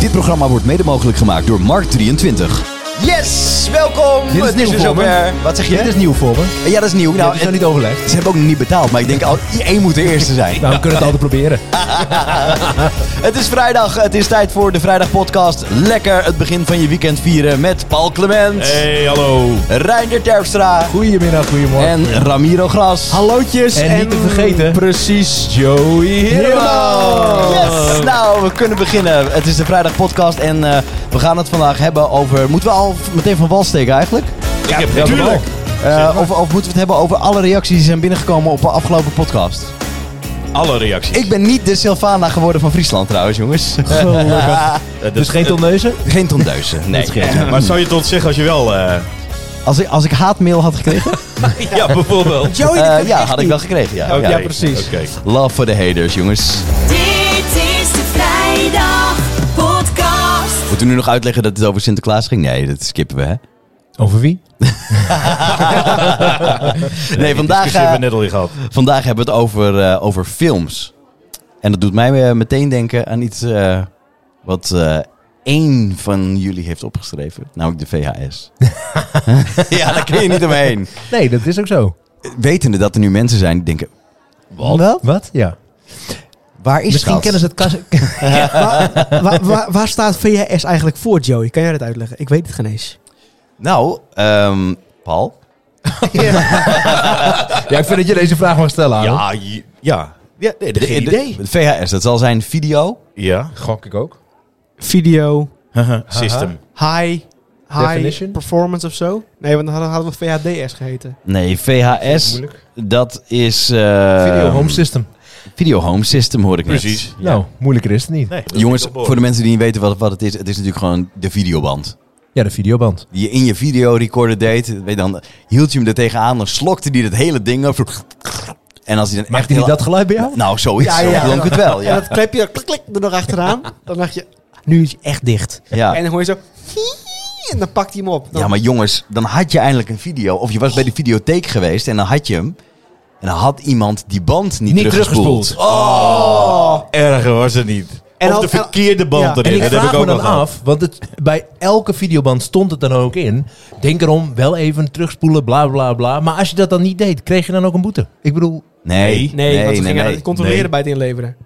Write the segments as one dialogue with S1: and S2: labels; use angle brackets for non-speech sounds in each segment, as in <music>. S1: Dit programma wordt mede mogelijk gemaakt door Markt 23.
S2: Yes, welkom.
S3: Oh,
S1: Dit is
S2: het
S1: nieuw
S2: is weer
S1: voor me.
S2: zover. Wat zeg je?
S3: dus Dit is nieuw voor me.
S2: Ja, dat is nieuw.
S3: Nou,
S2: Nou,
S3: is nog
S2: en-
S3: niet overlegd.
S2: ze hebben ook nog niet betaald, maar ik denk al één moet de eerste <laughs> zijn.
S3: Nou, we kunnen het altijd proberen.
S2: Het is vrijdag. Het is tijd voor de Vrijdag Podcast. Lekker het begin van je weekend vieren met Paul Clement,
S4: Hey, hallo.
S2: Reinder Terpstra
S3: Goedemiddag, goedemorgen.
S2: en Ramiro Gras.
S4: Hallootjes
S3: En niet te vergeten-
S4: Precies, Joey Helemaal.
S2: Yes! Nou, we kunnen beginnen. Het is de Vrijdag Podcast en eh, we gaan het vandaag hebben over. Moeten we al meteen van wal steken eigenlijk?
S4: Ik heb
S3: Ja,
S4: natuurlijk.
S2: Eh, of, of moeten we het hebben over alle reacties die zijn binnengekomen op de afgelopen podcast?
S4: Alle reacties.
S2: Ik ben niet de Sylvana geworden van Friesland trouwens,
S4: <laughs>
S2: jongens. Eh,
S3: Gelukkig.
S4: Eh,
S3: Dus geen tonneuzen?
S2: Geen tondeuzen. Nee. Eh,
S4: Maar zou je het ontzeggen als je wel... eh,
S2: Als ik, als ik haatmail had
S4: Oh,
S2: gekregen?
S4: ja. bijvoorbeeld.
S2: Eh, ja, had ik wel gekregen. Ja, ja.
S4: Oké,
S3: Ja, precies.
S4: oké.
S2: Love for the haters, jongens.
S5: Dit is de vrijdag podcast.
S2: Moeten we nu nog uitleggen dat het over Sinterklaas ging? Nee, dat skippen we, hè?
S4: Eh,
S3: Over wie?
S2: Nee, vandaag,
S4: Discussie
S2: eh,
S4: hebben we net al gehad.
S2: vandaag hebben we het over, eh, over films. En dat doet mij eh, meteen denken aan iets eh, wat eh, één van jullie heeft opgeschreven. Namelijk de
S3: <laughs>
S2: VHS. ja, daar kun je niet omheen.
S3: Nee, dat is ook zo.
S2: Wetende dat er nu mensen zijn die denken... Wat?
S3: Wat? Ja. Nou,
S2: Waar
S3: <laughs>
S2: is
S6: Misschien
S2: dat?
S6: kennen ze het kas. waar, waar, waar, waar staat VHS eigenlijk voor, Joey? Kan jij dat uitleggen? Ik weet het geen eens.
S2: Nou, ehm, Paul...
S3: Ja, ik vind dat je deze vraag mag stellen, Aaron.
S4: Ja, je- ja. Ja, nee,
S2: De-
S4: geen
S2: de-
S4: idee.
S2: de VHS, dat zal zijn video.
S4: Ja.
S3: Gok ik ook.
S6: Video,
S4: System.
S6: high, high
S3: Definition?
S6: performance of zo? Nee, want dan hadden- hadden we VHDS geheten.
S2: Nee, VHS,
S3: Moeilijk.
S2: dat is... eh,
S3: Video home system.
S2: Video home system hoor ik net.
S4: Precies.
S3: Nou, moeilijker is het niet.
S4: Nee, dat is
S2: Jongens,
S4: niet op
S2: voor de mensen die niet weten wat, wat het is, het is natuurlijk gewoon de videoband.
S3: Ja, de videoband.
S2: Die je in je videorecorder deed, weet je dan hield je hem er tegenaan, dan slokte die dat hele ding op. zo- En als hij dan echt
S3: Maakt hij
S2: heel-
S3: dat geluid bij jou?
S2: Nou, zoiets,
S6: Ja,
S2: zo
S6: ja.
S2: klonk het wel,
S6: En
S2: ja.
S6: dat klepje er, klik, klik, er nog achteraan. dan dacht je, nu is hij echt dicht.
S2: Ja.
S6: En dan hoor je zo... <laughs> "Hie", En dan pakt hij hem op. Dan-
S2: Ja, maar jongens, dan had je eindelijk een video. Of je was bij de videotheek geweest en dan had je hem. En dan had iemand die band niet,
S3: Niet
S2: teruggespoeld.
S3: teruggespoeld.
S4: Oh, Erger was het niet.
S6: En
S4: of
S6: al-
S4: de
S6: en-
S4: verkeerde
S6: ja.
S4: band
S3: En
S4: erin.
S3: ik
S4: Dat heb
S3: vraag
S4: ik
S3: me
S4: ook
S3: dan
S4: nog gehad.
S3: af, want het, bij elke videoband stond het dan ook in. Denk erom, wel even terugspoelen, bla bla bla. Maar als je dat dan niet deed, kreeg je dan ook een boete. Oh, Ik bedoel,
S2: Nee,
S6: Nee, want ze gingen het controleren
S4: Nee.
S6: bij het inleveren.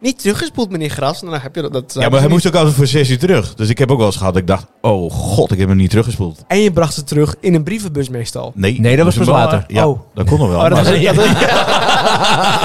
S6: Niet teruggespoeld, meneer Gras. En dan heb je dat... dat
S4: Ja, maar hij moest ook altijd voor 6 uur terug. Dus ik heb ook wel eens gehad dat ik dacht... Oh god, ik heb hem niet teruggespoeld.
S6: En je bracht ze terug in een brievenbus meestal.
S4: Nee,
S3: Nee, dat was
S4: hem
S3: pas
S4: wel-
S3: later.
S4: Ja,
S6: Oh.
S4: dat kon nog wel.
S6: Oh, dat,
S4: maar-
S6: was, dat, was,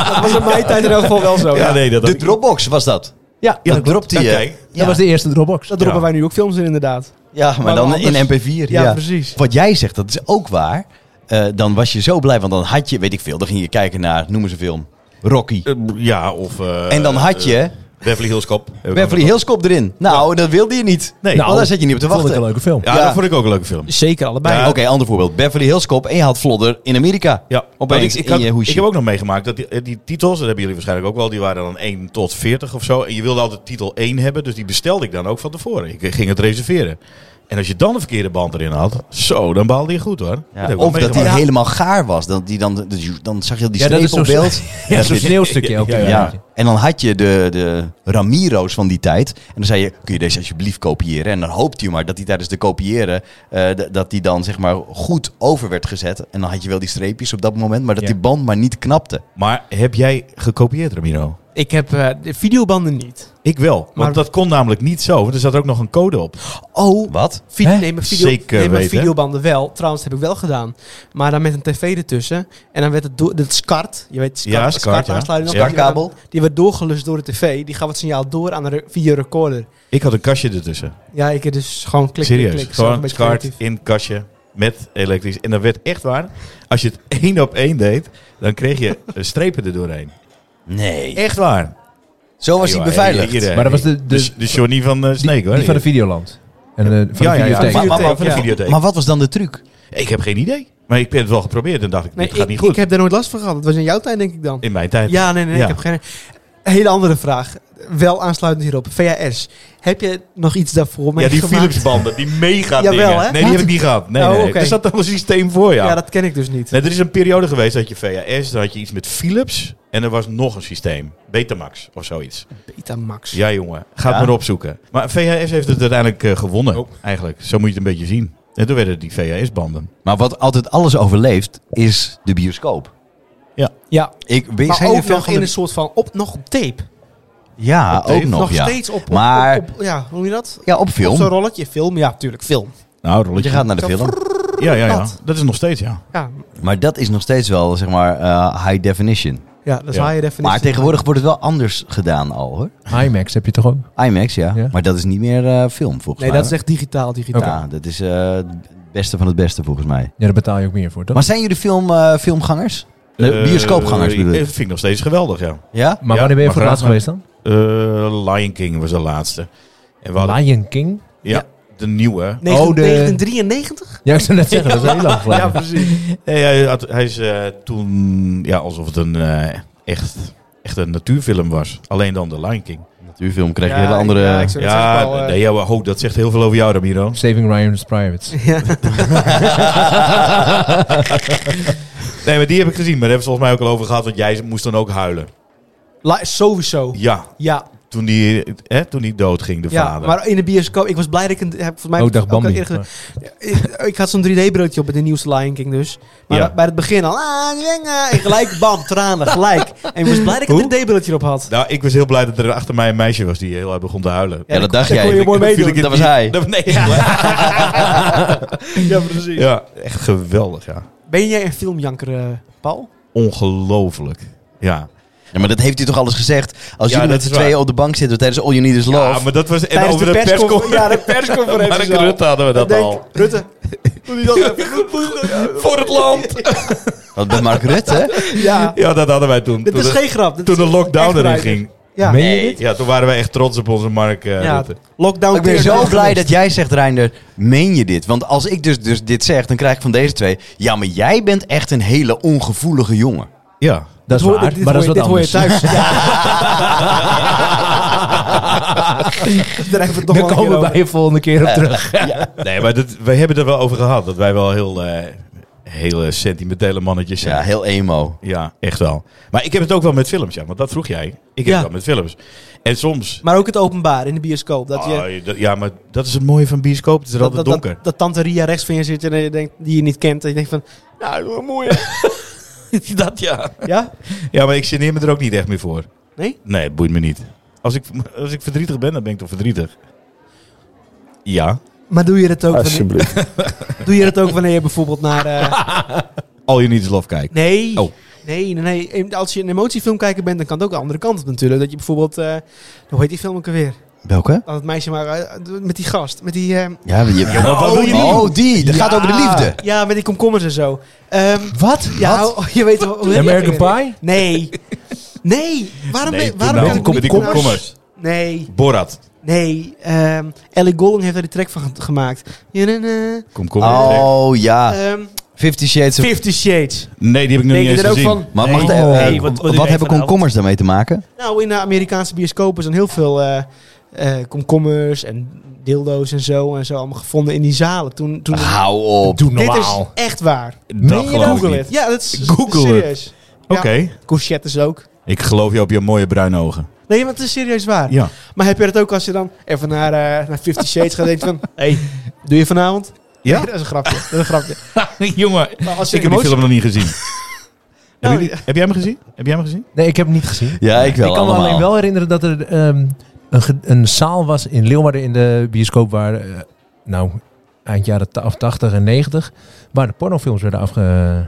S6: dat was in mijn tijd in elk geval wel zo.
S4: Ja,
S6: ja.
S4: nee, dat
S2: De Dropbox was dat.
S3: ja,
S2: Ja,
S3: dat,
S2: dat dropte
S4: Oké.
S2: je.
S3: dat was de eerste Dropbox.
S6: Dat droppen
S4: Ja.
S6: wij nu ook films in, inderdaad.
S2: Ja, maar
S6: Maar
S2: dan
S6: anders-
S2: in MP4. Ja,
S6: Ja, precies.
S2: Wat jij zegt, dat is ook waar. Eh, dan was je zo blij, want dan had je, weet ik veel, dan ging je kijken naar, noem eens een film, Rocky.
S4: Eh, Ja, of... eh,
S2: en dan had je
S4: Beverly Hills Cop. Heb ik ook
S2: Beverly
S4: nog
S2: Hills Cop erin. Nou, dat wilde je niet.
S4: Nee.
S2: want
S3: Nou,
S2: daar zat je niet op te
S3: vond ik
S2: wachten.
S3: een leuke film.
S4: Ja,
S2: Ja.
S4: dat vond ik ook een leuke film.
S6: Zeker allebei.
S2: Ja. Oké, ander voorbeeld. Beverly Hills Cop en je had Flodder in Amerika.
S4: Ja,
S2: Opeens
S4: Want ik, ik,
S2: in
S4: had-
S2: je hoesje.
S4: ik heb ook nog meegemaakt dat die, die titels, dat hebben jullie waarschijnlijk ook wel, die waren dan 1 tot 40 of zo. En je wilde altijd titel 1 hebben, dus die bestelde ik dan ook van tevoren. Ik eh, ging het reserveren. En als je dan de verkeerde band erin had, zo, dan baalde je goed hoor.
S2: Ja,
S4: heb ik wel
S2: of dat die
S4: meegemaakt.
S2: helemaal gaar was. Dat die dan, dus je- dan zag je die
S3: Ja, dat
S2: streep
S3: is
S2: op
S3: zo'n-
S2: beeld.
S3: Ja, zo'n sneeuwstukje elke
S4: Ja,
S3: keer.
S2: Ja. En dan had je de, de Ramiro's van die tijd. En dan zei je, kun je deze alsjeblieft kopiëren? En dan hoopt hij maar dat die tijdens de kopiëren, eh, d- dat die dan zeg maar goed over werd gezet. En dan had je wel die streepjes op dat moment, maar dat
S3: Ja.
S2: die band maar niet knapte.
S4: Maar heb jij gekopieerd, Ramiro?
S6: Ik heb eh, de videobanden niet.
S4: Ik wel, want
S6: Maar-
S4: dat kon namelijk niet zo, want er zat er ook nog een code op.
S6: Oh,
S2: Wat?
S6: vi-
S3: Hè?
S6: nee, maar video,
S4: Zeker
S6: nee, maar
S4: weten.
S6: videobanden wel. Trouwens, dat heb ik wel gedaan. Maar dan met een tv ertussen. En dan werd het, door- dat SCART. Je weet, SCART,
S4: Ja, SCART,
S6: SCART
S4: ja.
S6: aansluiting.
S4: Ja.
S6: Die werd dan-
S2: Kabel.
S6: Die werd doorgelust door de tv. Die gaf het signaal door aan de re- videorecorder.
S4: Ik had een kastje ertussen.
S6: Ja, ik heb dus gewoon klik, klik,
S4: Serieus,
S6: klik. Zelf een
S4: gewoon
S6: beetje
S4: kaart
S6: creatief.
S4: in kastje met elektrisch. En dat werd echt waar. Als je het <laughs> één op één deed, dan kreeg je een strepen er doorheen.
S2: Nee.
S4: Echt waar.
S2: Zo was
S4: Ja,
S2: hij
S4: ja,
S2: beveiligd.
S4: ja, ja.
S3: Maar dat was de- de-
S4: de Johnny van eh, Snake, hoor.
S3: Die van de Videoland. En eh, van
S4: Ja,
S3: de
S4: ja, ja.
S3: videotheek.
S2: Maar- maar-
S4: videotheek,
S2: maar-
S4: ja. videotheek.
S2: Maar wat was dan de truc?
S4: Ik heb geen idee. Maar ik heb het wel geprobeerd en dacht ik,
S6: Nee,
S4: dit gaat
S6: ik,
S4: niet goed.
S6: ik heb daar nooit last van gehad. Dat was in jouw tijd, denk ik dan.
S4: In mijn tijd.
S6: Ja, nee, nee, nee,
S4: Ja.
S6: ik heb geen... hele andere vraag. Wel aansluitend hierop. VHS. Heb je nog iets daarvoor
S4: Ja, die
S6: meegemaakt?
S4: Philips-banden, die mega
S6: <laughs> Jawel,
S4: dingen.
S6: hè?
S4: Nee, die heb ik niet gehad. Nee,
S6: Oh,
S4: nee.
S6: oké.
S4: Er zat al een systeem voor, ja.
S6: Ja, dat ken ik dus niet.
S4: Nee, er is een periode geweest dat je VHS, dan had je iets met Philips en er was nog een systeem. Betamax of zoiets.
S6: Betamax.
S4: Ja, jongen. Ga het
S2: Ja.
S4: maar opzoeken. Maar VHS heeft het uiteindelijk eh, gewonnen,
S3: Oh.
S4: eigenlijk. Zo moet je het een beetje zien. En toen werden die VHS-banden.
S2: Maar wat altijd alles overleeft, is de bioscoop.
S6: Ja.
S2: Ik, weet,
S6: Maar
S2: zijn er
S6: ook
S2: veel
S6: nog
S2: van
S6: in
S2: de-
S6: een soort van... Op, nog op tape.
S2: Ja,
S4: op tape.
S2: ook nog,
S6: nog
S2: ja.
S6: steeds op, op,
S2: Maar-
S6: op, op- Ja, hoe noem je dat?
S2: Ja, op
S6: Op zo'n
S2: film.
S6: rolletje. Film. Ja, tuurlijk. Film.
S4: Nou,
S2: Want je
S4: rolletje.
S2: gaat naar de
S6: Zo
S2: film.
S4: Ja, ja, ja.
S6: Dat.
S4: Dat is nog steeds, ja.
S6: Ja,
S2: Maar dat is nog steeds wel, zeg maar, eh, high definition.
S6: ja dat is
S4: Ja.
S6: waar je definitie.
S2: Maar tegenwoordig wordt het wel anders gedaan al, hoor.
S3: IMAX heb je toch ook?
S2: IMAX, ja.
S3: Ja.
S2: Maar dat is niet meer eh, film, volgens
S6: Nee,
S2: mij.
S6: dat is echt digitaal, digitaal.
S2: Ja, dat is eh, het beste van het beste, volgens mij.
S3: Ja, daar betaal je ook meer voor, toch?
S2: Maar zijn jullie film, eh, filmgangers? De
S4: Eh,
S2: bioscoopgangers bedoel
S4: eh,
S2: ik.
S4: vind ik nog steeds geweldig, ja.
S2: Ja?
S3: Maar
S4: Ja,
S3: wanneer ben je
S4: maar
S3: voor het
S4: graag,
S3: laatst geweest dan?
S4: Eh, Lion King was de laatste. En we hadden,
S3: Lion King?
S4: ja, de nieuwe.
S3: Oh, de-
S6: 1993?
S3: Ja, ik zou net zeggen, dat is heel <laughs> lang
S2: <laughs>
S3: geleden.
S4: precies. hij, had- hij is eh, toen ja, alsof het een eh, echt, echt een natuurfilm was. Alleen dan de Lion King.
S2: Natuurfilm krijg je
S6: Ja,
S2: hele andere...
S6: ja, ik zou- Dat
S4: ja,
S6: zegt wel, eh,
S4: nee, ja, maar ho, dat zegt heel veel over jou, Ramiro.
S3: Saving Ryan's Privates.
S6: Ja.
S4: Nee, maar die heb ik gezien. Maar daar hebben we het volgens mij ook al over gehad. Want jij moest dan ook huilen.
S6: La- sowieso.
S4: Ja,
S6: Ja,
S4: toen die, hè, toen die doodging, de
S6: ja
S4: vader.
S6: maar in de bioscoop, ik was blij dat ik een. Heb ik volgens mij
S3: Oh, dag
S6: ook al
S3: Bambi.
S6: eerder gezegd- ik, ik had zo'n 3D-broodje op bij de nieuwste Lion King dus. Maar
S4: Ja.
S6: bij het begin al. Ah, ja, en gelijk, bam, tranen, gelijk. En ik was blij dat ik een 3D-broodje op had.
S4: Nou, ik was heel blij dat er achter mij een meisje was die heel hard begon te huilen.
S2: Ja, dat dacht
S6: dat
S2: jij.
S6: kon je mooi
S2: Dat viel
S6: meedoen.
S2: ik in- Dat was hij.
S4: Dat- nee,
S2: <laughs>
S4: ja. precies. Ja, echt geweldig, ja.
S6: Ben jij een filmjanker, eh, Paul?
S4: Ongelooflijk. Ja.
S2: Ja, maar dat heeft hij toch alles gezegd? Als
S4: Ja,
S2: jullie
S4: dat
S2: met z'n
S4: is waar.
S2: tweeën op de bank zitten tijdens All You Need Is Love.
S4: Ja, Ah, maar dat was... En
S6: Tijdens
S4: over
S6: de
S4: de
S6: persconfer-
S4: persconferentie. <laughs>
S6: ja, de persconferentie
S4: Mark
S6: zo.
S4: Rutte hadden we dat
S6: Denk,
S4: al.
S6: Rutte. Doe die dat even.
S4: Voor het land!
S2: Wat bij Mark Rutte?
S4: <laughs>
S6: Ja,
S4: Ja, dat hadden wij toen.
S6: dit
S4: Toen
S6: is
S4: de,
S6: geen grap. dit
S4: toen de
S6: is echt
S4: lockdown erin
S6: waar.
S4: ging.
S6: Ja,
S3: Meen je dit?
S4: Ja, toen waren wij echt trots op onze Mark eh,
S6: Ah, ja
S4: Rutte.
S6: lockdown.
S2: Ik ben
S6: tegen
S2: zo
S6: lockdown.
S2: blij
S6: <laughs>
S2: dat jij zegt, Reinder, meen je dit? Want als ik dus, dus dit zeg, dan krijg ik van deze twee... Ja, maar jij bent echt een hele ongevoelige jongen.
S4: Ja.
S3: Dat is
S6: hoor-
S3: waar,
S6: dit
S3: maar dat is
S6: hoor
S3: wat
S6: je-
S3: anders.
S6: Dit hoor je thuis.
S3: <laughs>
S4: <laughs>
S6: Daar hebben we het nog wel
S3: Daar
S6: een keer
S3: komen
S6: over.
S3: wij de volgende keer <laughs> op terug.
S4: Nee, maar dat, wij hebben het er wel over gehad. Dat wij wel heel... eh, hele sentimentele mannetjes zijn.
S2: Ja,
S4: Ja,
S2: heel emo.
S4: echt wel. Maar ik heb het ook wel met films, ja. Want dat vroeg jij. Ik heb
S6: Ja.
S4: het wel met films. En soms...
S6: Maar ook het openbaar in de bioscoop. Dat, je,
S4: Ah, dat- ja, maar dat is het mooie van bioscoop. Het is er
S6: dat,
S4: altijd
S6: dat,
S4: donker.
S6: dat, dat tante Ria rechts van je zit en je denkt, die je niet kent. En je denkt van, nou, dat is mooi.
S3: <laughs>
S4: dat ja.
S6: ja?
S4: Ja, maar ik geneer me er ook niet echt meer voor.
S6: Nee?
S4: Nee, het boeit me niet. Als ik, als ik verdrietig ben, dan ben ik toch verdrietig? Ja.
S6: Maar doe je dat ook, wanneer,
S7: Alsjeblieft.
S6: <laughs> doe je, dat ook wanneer je bijvoorbeeld naar... eh,
S4: Al je niet is lof kijkt.
S6: nee.
S4: Oh.
S6: nee. Nee, nee. Als je een emotiefilm kijker bent, dan kan het ook de andere kant op natuurlijk. Dat je bijvoorbeeld, eh, hoe heet die film ook alweer?
S2: Welke?
S6: Dat het meisje maar, eh, met die gast. Met die... eh,
S2: Ja, je,
S4: wat wil je
S2: oh,
S4: doen?
S2: die. Dat gaat over de liefde.
S6: Ja, met die komkommers en zo. Ehm,
S3: Wat?
S6: ja, oh, je weet wel... hoe heet die
S3: American
S6: ook alweer?
S3: Pie?
S6: Nee. Nee. Waarom,
S4: Nee,
S6: ben-
S4: doe
S6: waarom
S4: nou.
S6: kan ik
S4: Met die
S6: niet naar-
S4: komkommers.
S6: Nee.
S4: Borat.
S6: Nee, ehm, Ellie Golding heeft daar die track van ge- gemaakt. Ja, na, na.
S4: Kom, kom.
S2: Oh, ja.
S6: Ehm,
S2: Fifty Shades of...
S6: Fifty Shades.
S4: Nee, die heb ik Ah. nog
S6: Denk
S4: niet
S6: je
S4: eens
S6: er ook
S4: gezien.
S6: van?
S2: Maar
S6: Nee.
S2: wacht even,
S6: Oh.
S2: eh,
S6: Nee,
S2: wat, hebben komkommers daarmee te maken?
S6: Nou, in de Amerikaanse bioscopen zijn heel veel eh, eh, komkommers en dildo's en zo en zo allemaal gevonden in die zalen. Toen, toen
S2: Hou op.
S3: Doe
S6: dit is
S3: normaal.
S6: echt waar.
S4: Ah, Dat geloof ik
S6: Google
S4: niet.
S6: it. Ja, dat is
S4: Google it.
S6: serieus.
S4: Oké.
S6: Courgettes ook.
S4: Ik geloof je op je mooie bruine ogen.
S6: Nee, maar het is serieus waar.
S4: Ja.
S6: Maar heb je dat ook als je dan even naar, eh naar Fifty Shades gaat en denkt van... hey, doe je vanavond?
S4: Ja?
S6: Nee, <laughs> dat is een grapje. Dat is een
S4: <laughs>
S6: grapje.
S4: <laughs> Jongen,
S6: Maar als je
S4: ik heb die
S6: emotie-
S4: film nog niet
S6: <laughs>
S4: gezien. heb,
S6: Nou,
S4: jullie- heb jij hem gezien? Heb jij hem gezien?
S3: Nee, ik heb hem niet gezien.
S2: Ja, ik wel
S3: Ik kan me
S2: allemaal.
S3: alleen wel herinneren dat er ehm, een, ge- een zaal was in Leeuwarden in de bioscoop waar, eh, nou, eind jaren ta- of 80 en 90, waar de pornofilms werden afge...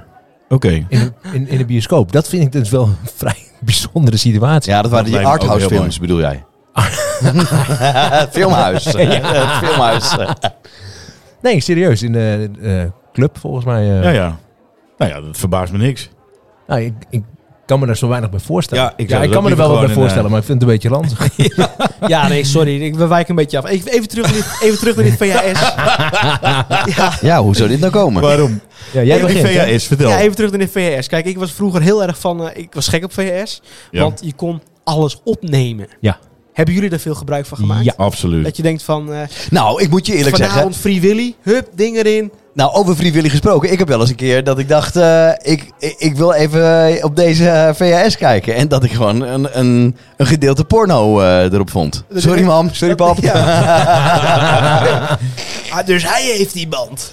S4: Oké.
S3: In de, in, in de bioscoop. Dat vind ik dus wel een <laughs> vrij bijzondere situatie.
S2: Ja, dat waren die
S4: lijkt me ook
S2: arthouse
S4: heel
S2: films, bedoel jij? <laughs> filmhuis. Het <laughs> filmhuis.
S3: Nee, serieus. In de eh, club volgens mij. eh.
S4: Ja, ja. Nou ja, dat verbaast me niks.
S3: Nou, ik, ik kan me daar zo weinig bij voorstellen.
S4: Ja, ik zou dat
S3: kan me
S4: ook
S3: er wel
S4: liever
S3: wat bij
S4: gewoon in,
S3: voorstellen, maar ik vind het een beetje ranzig.
S6: Ja, nee, sorry. Ik, we wijken een beetje af. Even, even, terug, naar dit- even terug naar
S4: <laughs>
S6: dit VHS.
S2: Ja, hoe zou dit nou komen?
S4: Waarom?
S3: Ja, jij
S4: Jij
S3: begint, hè?
S4: VHS, vertel.
S6: Ja, even terug naar dit VHS. Kijk, ik was vroeger heel erg van... eh, ik was gek op VHS.
S4: Ja.
S6: Want je kon alles opnemen.
S3: Ja.
S6: Hebben jullie daar veel gebruik van gemaakt?
S3: Ja.
S4: Absoluut.
S6: Dat je denkt van, eh
S2: Nou, ik moet je eerlijk zeggen.
S6: vanavond Free Willy, hup, ding erin.
S2: Nou, over vrijwillig gesproken. Ik heb wel eens een keer dat ik dacht, eh, ik, ik, ik wil even eh, op deze eh, VHS kijken. En dat ik gewoon een, een, een gedeelte porno eh, erop vond.
S6: Dat is
S2: Sorry
S6: echt-
S2: mam, sorry <laughs> pap.
S6: Ah, dus hij heeft die band.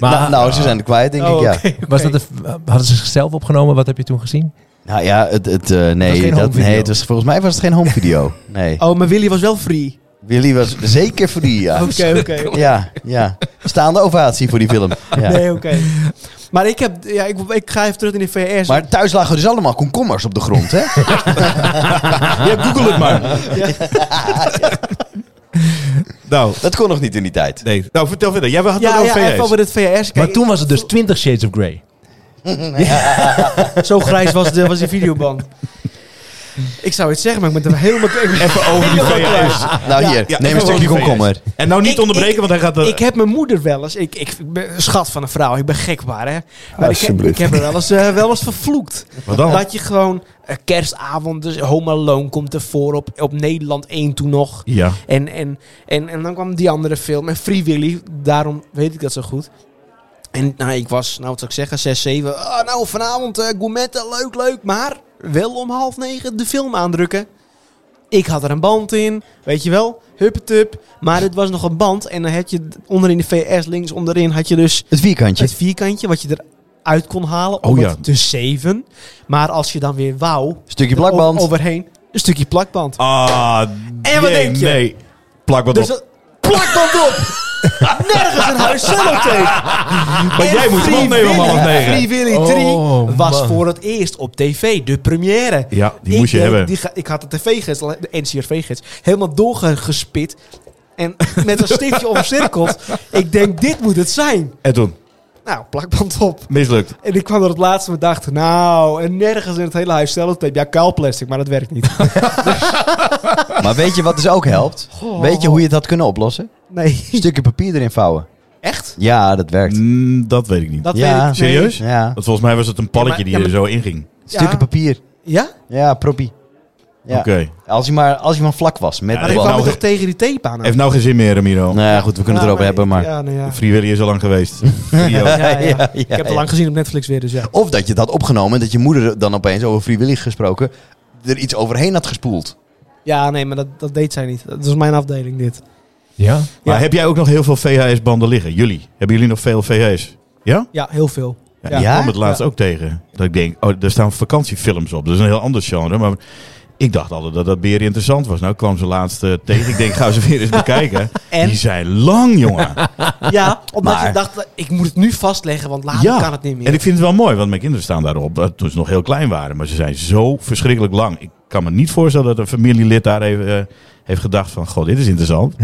S3: Maar-
S2: nou, nou, ze zijn er kwijt, denk
S6: Oh,
S2: ik, ja.
S6: oké, oké.
S3: Was dat een- hadden ze zichzelf opgenomen? Wat heb je toen gezien?
S2: Nou ja, het, het, eh,
S3: was
S2: nee,
S3: geen
S2: dat,
S3: home video.
S2: nee het was, volgens mij was het geen home video. Nee.
S6: Oh, maar Willy was wel free.
S2: Willy was zeker voor die, <laughs> ja.
S6: Oké, oké.
S2: Ja, ja. Staande ovatie voor die film. Ja.
S6: Nee, oké. Maar ik, heb, ja, ik, ik ga even terug in de VS.
S2: Maar thuis lagen dus allemaal komkommers op de grond, hè?
S4: Ja, google het maar. Nou,
S2: Dat kon nog niet in die tijd.
S4: nee. nou, vertel verder. Jij had het
S6: ja,
S4: over
S6: ja, even
S4: VS.
S6: over het VS. Kijk,
S3: maar toen was het dus 20 Shades of Grey.
S6: Zo grijs was, de, was die videoband. Ik zou iets zeggen, maar ik ben er helemaal... Ik,
S4: Even over die VS.
S2: Nou hier,
S4: Ja,
S2: neem een
S4: even
S2: stukje
S4: over die
S2: komkommer.
S4: En nou niet
S6: Ik-
S4: onderbreken,
S6: ik-
S4: want hij gaat... eh,
S6: ik heb mijn moeder wel eens... Ik, ik ben een schat van een vrouw, ik ben gek maar, hè. Maar ik, heb- ik
S7: Alsjeblieft.
S6: heb er wel eens, eh, wel eens vervloekt.
S4: Wat dan?
S6: Dat je gewoon... eh, kerstavond, dus Home Alone komt ervoor op, op Nederland 1 toen nog.
S4: Ja.
S6: En, en, en, en dan kwam die andere film. En Free Willy, daarom weet ik dat zo goed. En nou, ik was, nou wat zou ik zeggen, 6, 7. Ah, nou, vanavond eh gourmetten, leuk, leuk. Maar wel om half negen de film aandrukken. Ik had er een band in, weet je wel. Huppetup. Maar het was nog een band. En dan had je d- onderin de VS, links onderin, had je dus
S2: Het vierkantje.
S6: het vierkantje wat je eruit kon halen.
S4: Oh
S6: Om
S4: ja.
S6: het te 7. Maar als je dan weer wou,
S2: Stukje
S6: er
S2: plakband.
S6: o- overheen, een stukje plakband.
S4: Ah,
S6: En wat
S4: nee,
S6: denk je?
S4: Nee. Plak wat op.
S6: Dus dat- plak dan op! Nergens een huis sellotape.
S4: Maar jij moet hem opnemen om half negen.
S6: Free Willy 3
S3: Oh,
S6: was
S3: man.
S6: voor het eerst op tv, de première.
S4: Ja, die
S6: Ik,
S4: moest je
S6: eh,
S4: hebben.
S6: die ga- ik had de tv-gids, de NCRV-gids, helemaal doorgespit. En met een stiftje omcirkeld. Ik denk, dit moet het zijn.
S4: En toen?
S6: Nou, plakband op.
S4: Mislukt.
S6: En ik kwam er het laatste en dacht, nou, en nergens in het hele huis sellotape. Ja, kuilplastic, maar dat werkt niet.
S2: Maar weet je wat dus ook helpt? Weet je hoe je dat kunnen oplossen?
S6: Nee.
S2: Stukje papier erin vouwen.
S6: Echt?
S2: Ja, dat werkt.
S4: Mm, dat weet ik niet.
S6: Dat
S2: Ja.
S6: weet ik. nee.
S4: Serieus?
S2: Ja.
S4: Want volgens mij was het een palletje
S6: Ja, maar-
S4: die er zo inging.
S2: Stukje papier.
S6: Ja?
S2: Ja, proppie. Ja.
S4: Oké.
S2: Als, je maar, als je maar vlak was met
S4: Ja,
S2: de
S6: Ik
S4: dat
S2: bal.
S6: kwam
S4: Nou,
S6: er toch tegen die tape aan.
S4: Heeft nou geen zin meer, Ramiro.
S2: Nou ja, goed, we kunnen het erover hebben, maar...
S6: Ja, nou ja.
S4: Free Willy is al lang geweest. Free ook.
S6: Ja,
S2: <laughs> Ja,
S6: ja.
S2: ja,
S6: ik heb het
S2: ja.
S6: lang gezien op Netflix weer, dus ja.
S2: Of dat je het had opgenomen en dat je moeder dan opeens over vrijwillig gesproken er iets overheen had gespoeld.
S6: Ja, nee, maar dat, dat deed zij niet. Dat was mijn afdeling, dit.
S3: Ja.
S4: Maar
S6: Ja.
S4: heb jij ook nog heel veel VHS-banden liggen? Jullie? Hebben jullie nog veel VHS? Ja?
S6: Ja, heel <laughs> veel.
S4: Ja,
S6: Ja.
S4: Ik kwam het
S6: Ja.
S4: laatst ook tegen. Dat ik denk, oh, er staan vakantiefilms op. Dat is een heel ander genre. Maar ik dacht altijd dat dat beer interessant was. Nou ik kwam ze laatst eh, tegen. Ik denk, ga ze weer eens bekijken.
S6: <laughs> En?
S4: Die zijn lang, jongen.
S6: Ja, omdat
S2: Maar-
S6: je dacht, eh, ik moet het nu vastleggen, want later
S4: ja.
S6: Ah, kan het niet meer.
S4: En ik vind het wel mooi, want mijn kinderen staan daarop. eh, Toen ze nog heel klein waren. Maar ze zijn zo verschrikkelijk lang. Ik kan me niet voorstellen dat een familielid daar even, eh, heeft gedacht van... God, dit is interessant.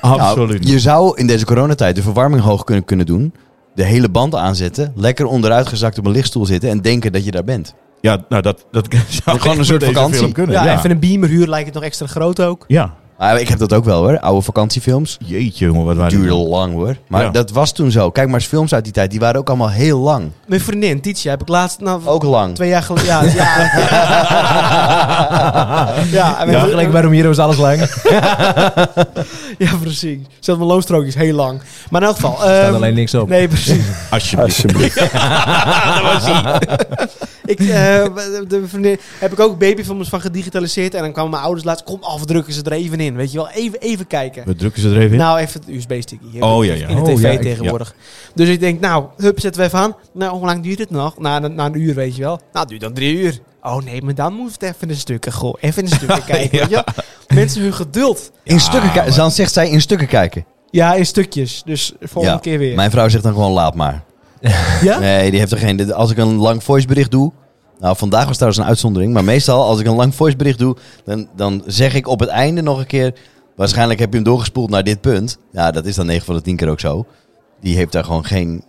S4: Absoluut niet.
S2: <laughs> Nou, je zou in deze coronatijd de verwarming hoog kunnen, kunnen doen. De hele band aanzetten. Lekker onderuitgezakt op een lichtstoel zitten. En denken dat je daar bent.
S4: <laughs> Ja, nou dat, dat <laughs> zou
S2: Gewoon een
S4: echt
S2: soort
S4: met deze
S2: vakantie.
S4: film kunnen.
S6: ja,
S4: Ja,
S6: even een beamer huur lijkt het nog extra groot ook.
S4: Ja.
S2: Maar ik heb dat ook wel hoor. Oude vakantiefilms.
S4: Jeetje jongen, wat waren die
S2: Duurde
S4: dan?
S2: lang hoor. Maar
S4: Ja.
S2: dat was toen zo. Kijk maar eens films uit die tijd. Die waren ook allemaal heel lang.
S6: Mijn vriendin, Titia, heb ik laatst, nou,
S2: Ook lang.
S6: twee jaar geleden... <laughs> Ja, ja. ja, en we hebben-
S3: Gelijk bij Romero is alles lang.
S6: ja, precies. Zelfs mijn loonstrookjes heel lang. Maar in elk geval...
S3: Er staat
S6: ehm,
S3: alleen niks op.
S6: Nee, precies. <laughs>
S4: Alsjeblieft.
S7: Alsjeblieft.
S6: Ik, eh, de- de vriendin- heb ik ook babyfilms van gedigitaliseerd. En dan kwamen mijn ouders laatst, kom af, drukken ze er even in. Weet je wel, even, even kijken.
S4: We drukken ze er even in.
S6: Nou, even het USB-stickje.
S4: Oh, ja, ja.
S6: In de
S3: Oh,
S6: tv
S3: ja, ik-
S6: tegenwoordig. Dus ik denk, nou, hup, zetten we even aan. Nou, hoe lang duurt het nog? Na, na, na een uur, weet je wel. Nou, het duurt dan drie uur. Oh nee, maar dan moet het even een stukje, goh. Even een
S4: <laughs>
S6: stukje kijken, weet je wel. Mensen hun geduld.
S2: In stukken kijken. Dan zegt zij in stukken kijken.
S6: Ja, in stukjes. Dus volgende keer weer.
S2: Mijn vrouw zegt dan gewoon laat maar.
S6: Ja?
S2: Nee, die heeft er geen... Als ik een lang voicebericht doe... Nou, vandaag was trouwens een uitzondering. Maar meestal als ik een lang voicebericht doe... Dan, dan zeg ik op het einde nog een keer... Waarschijnlijk heb je hem doorgespoeld naar dit punt. Ja, dat is dan 9 van de 10 keer ook zo. Die heeft daar gewoon geen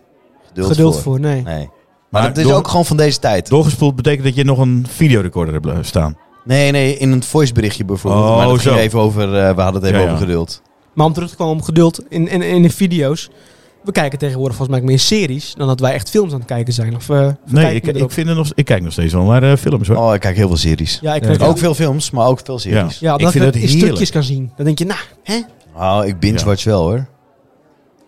S2: geduld,
S6: geduld voor, nee.
S2: Nee. Maar,
S4: Maar
S2: dat is
S4: door-
S2: ook gewoon van deze tijd.
S4: Doorgespoeld betekent dat je nog een videorecorder hebt eh, staan.
S2: Nee, nee, in een voiceberichtje bijvoorbeeld.
S4: Oh,
S2: maar dat
S4: zo.
S2: ging even over... eh, we hadden het even
S4: Ja,
S2: over
S4: ja.
S2: geduld.
S6: Maar om terug te komen op geduld in, in, in de video's. We kijken tegenwoordig volgens mij ook meer series dan dat wij echt films aan het kijken zijn. Of, eh,
S4: Nee,
S6: kijken
S4: ik,
S6: we erop?
S4: ik, vind er nog, ik kijk nog steeds wel naar eh, films hoor.
S2: Oh, ik kijk heel veel series.
S6: ja, ik
S3: Ja.
S6: vind
S2: Ook veel films, maar ook veel series.
S6: Ja,
S4: Ik
S6: dat
S4: vind
S6: we
S4: het
S6: in stukjes
S4: heerlijk.
S6: kan zien. Dan denk je, nou, hè?
S2: Oh, ik binge-watch wel hoor.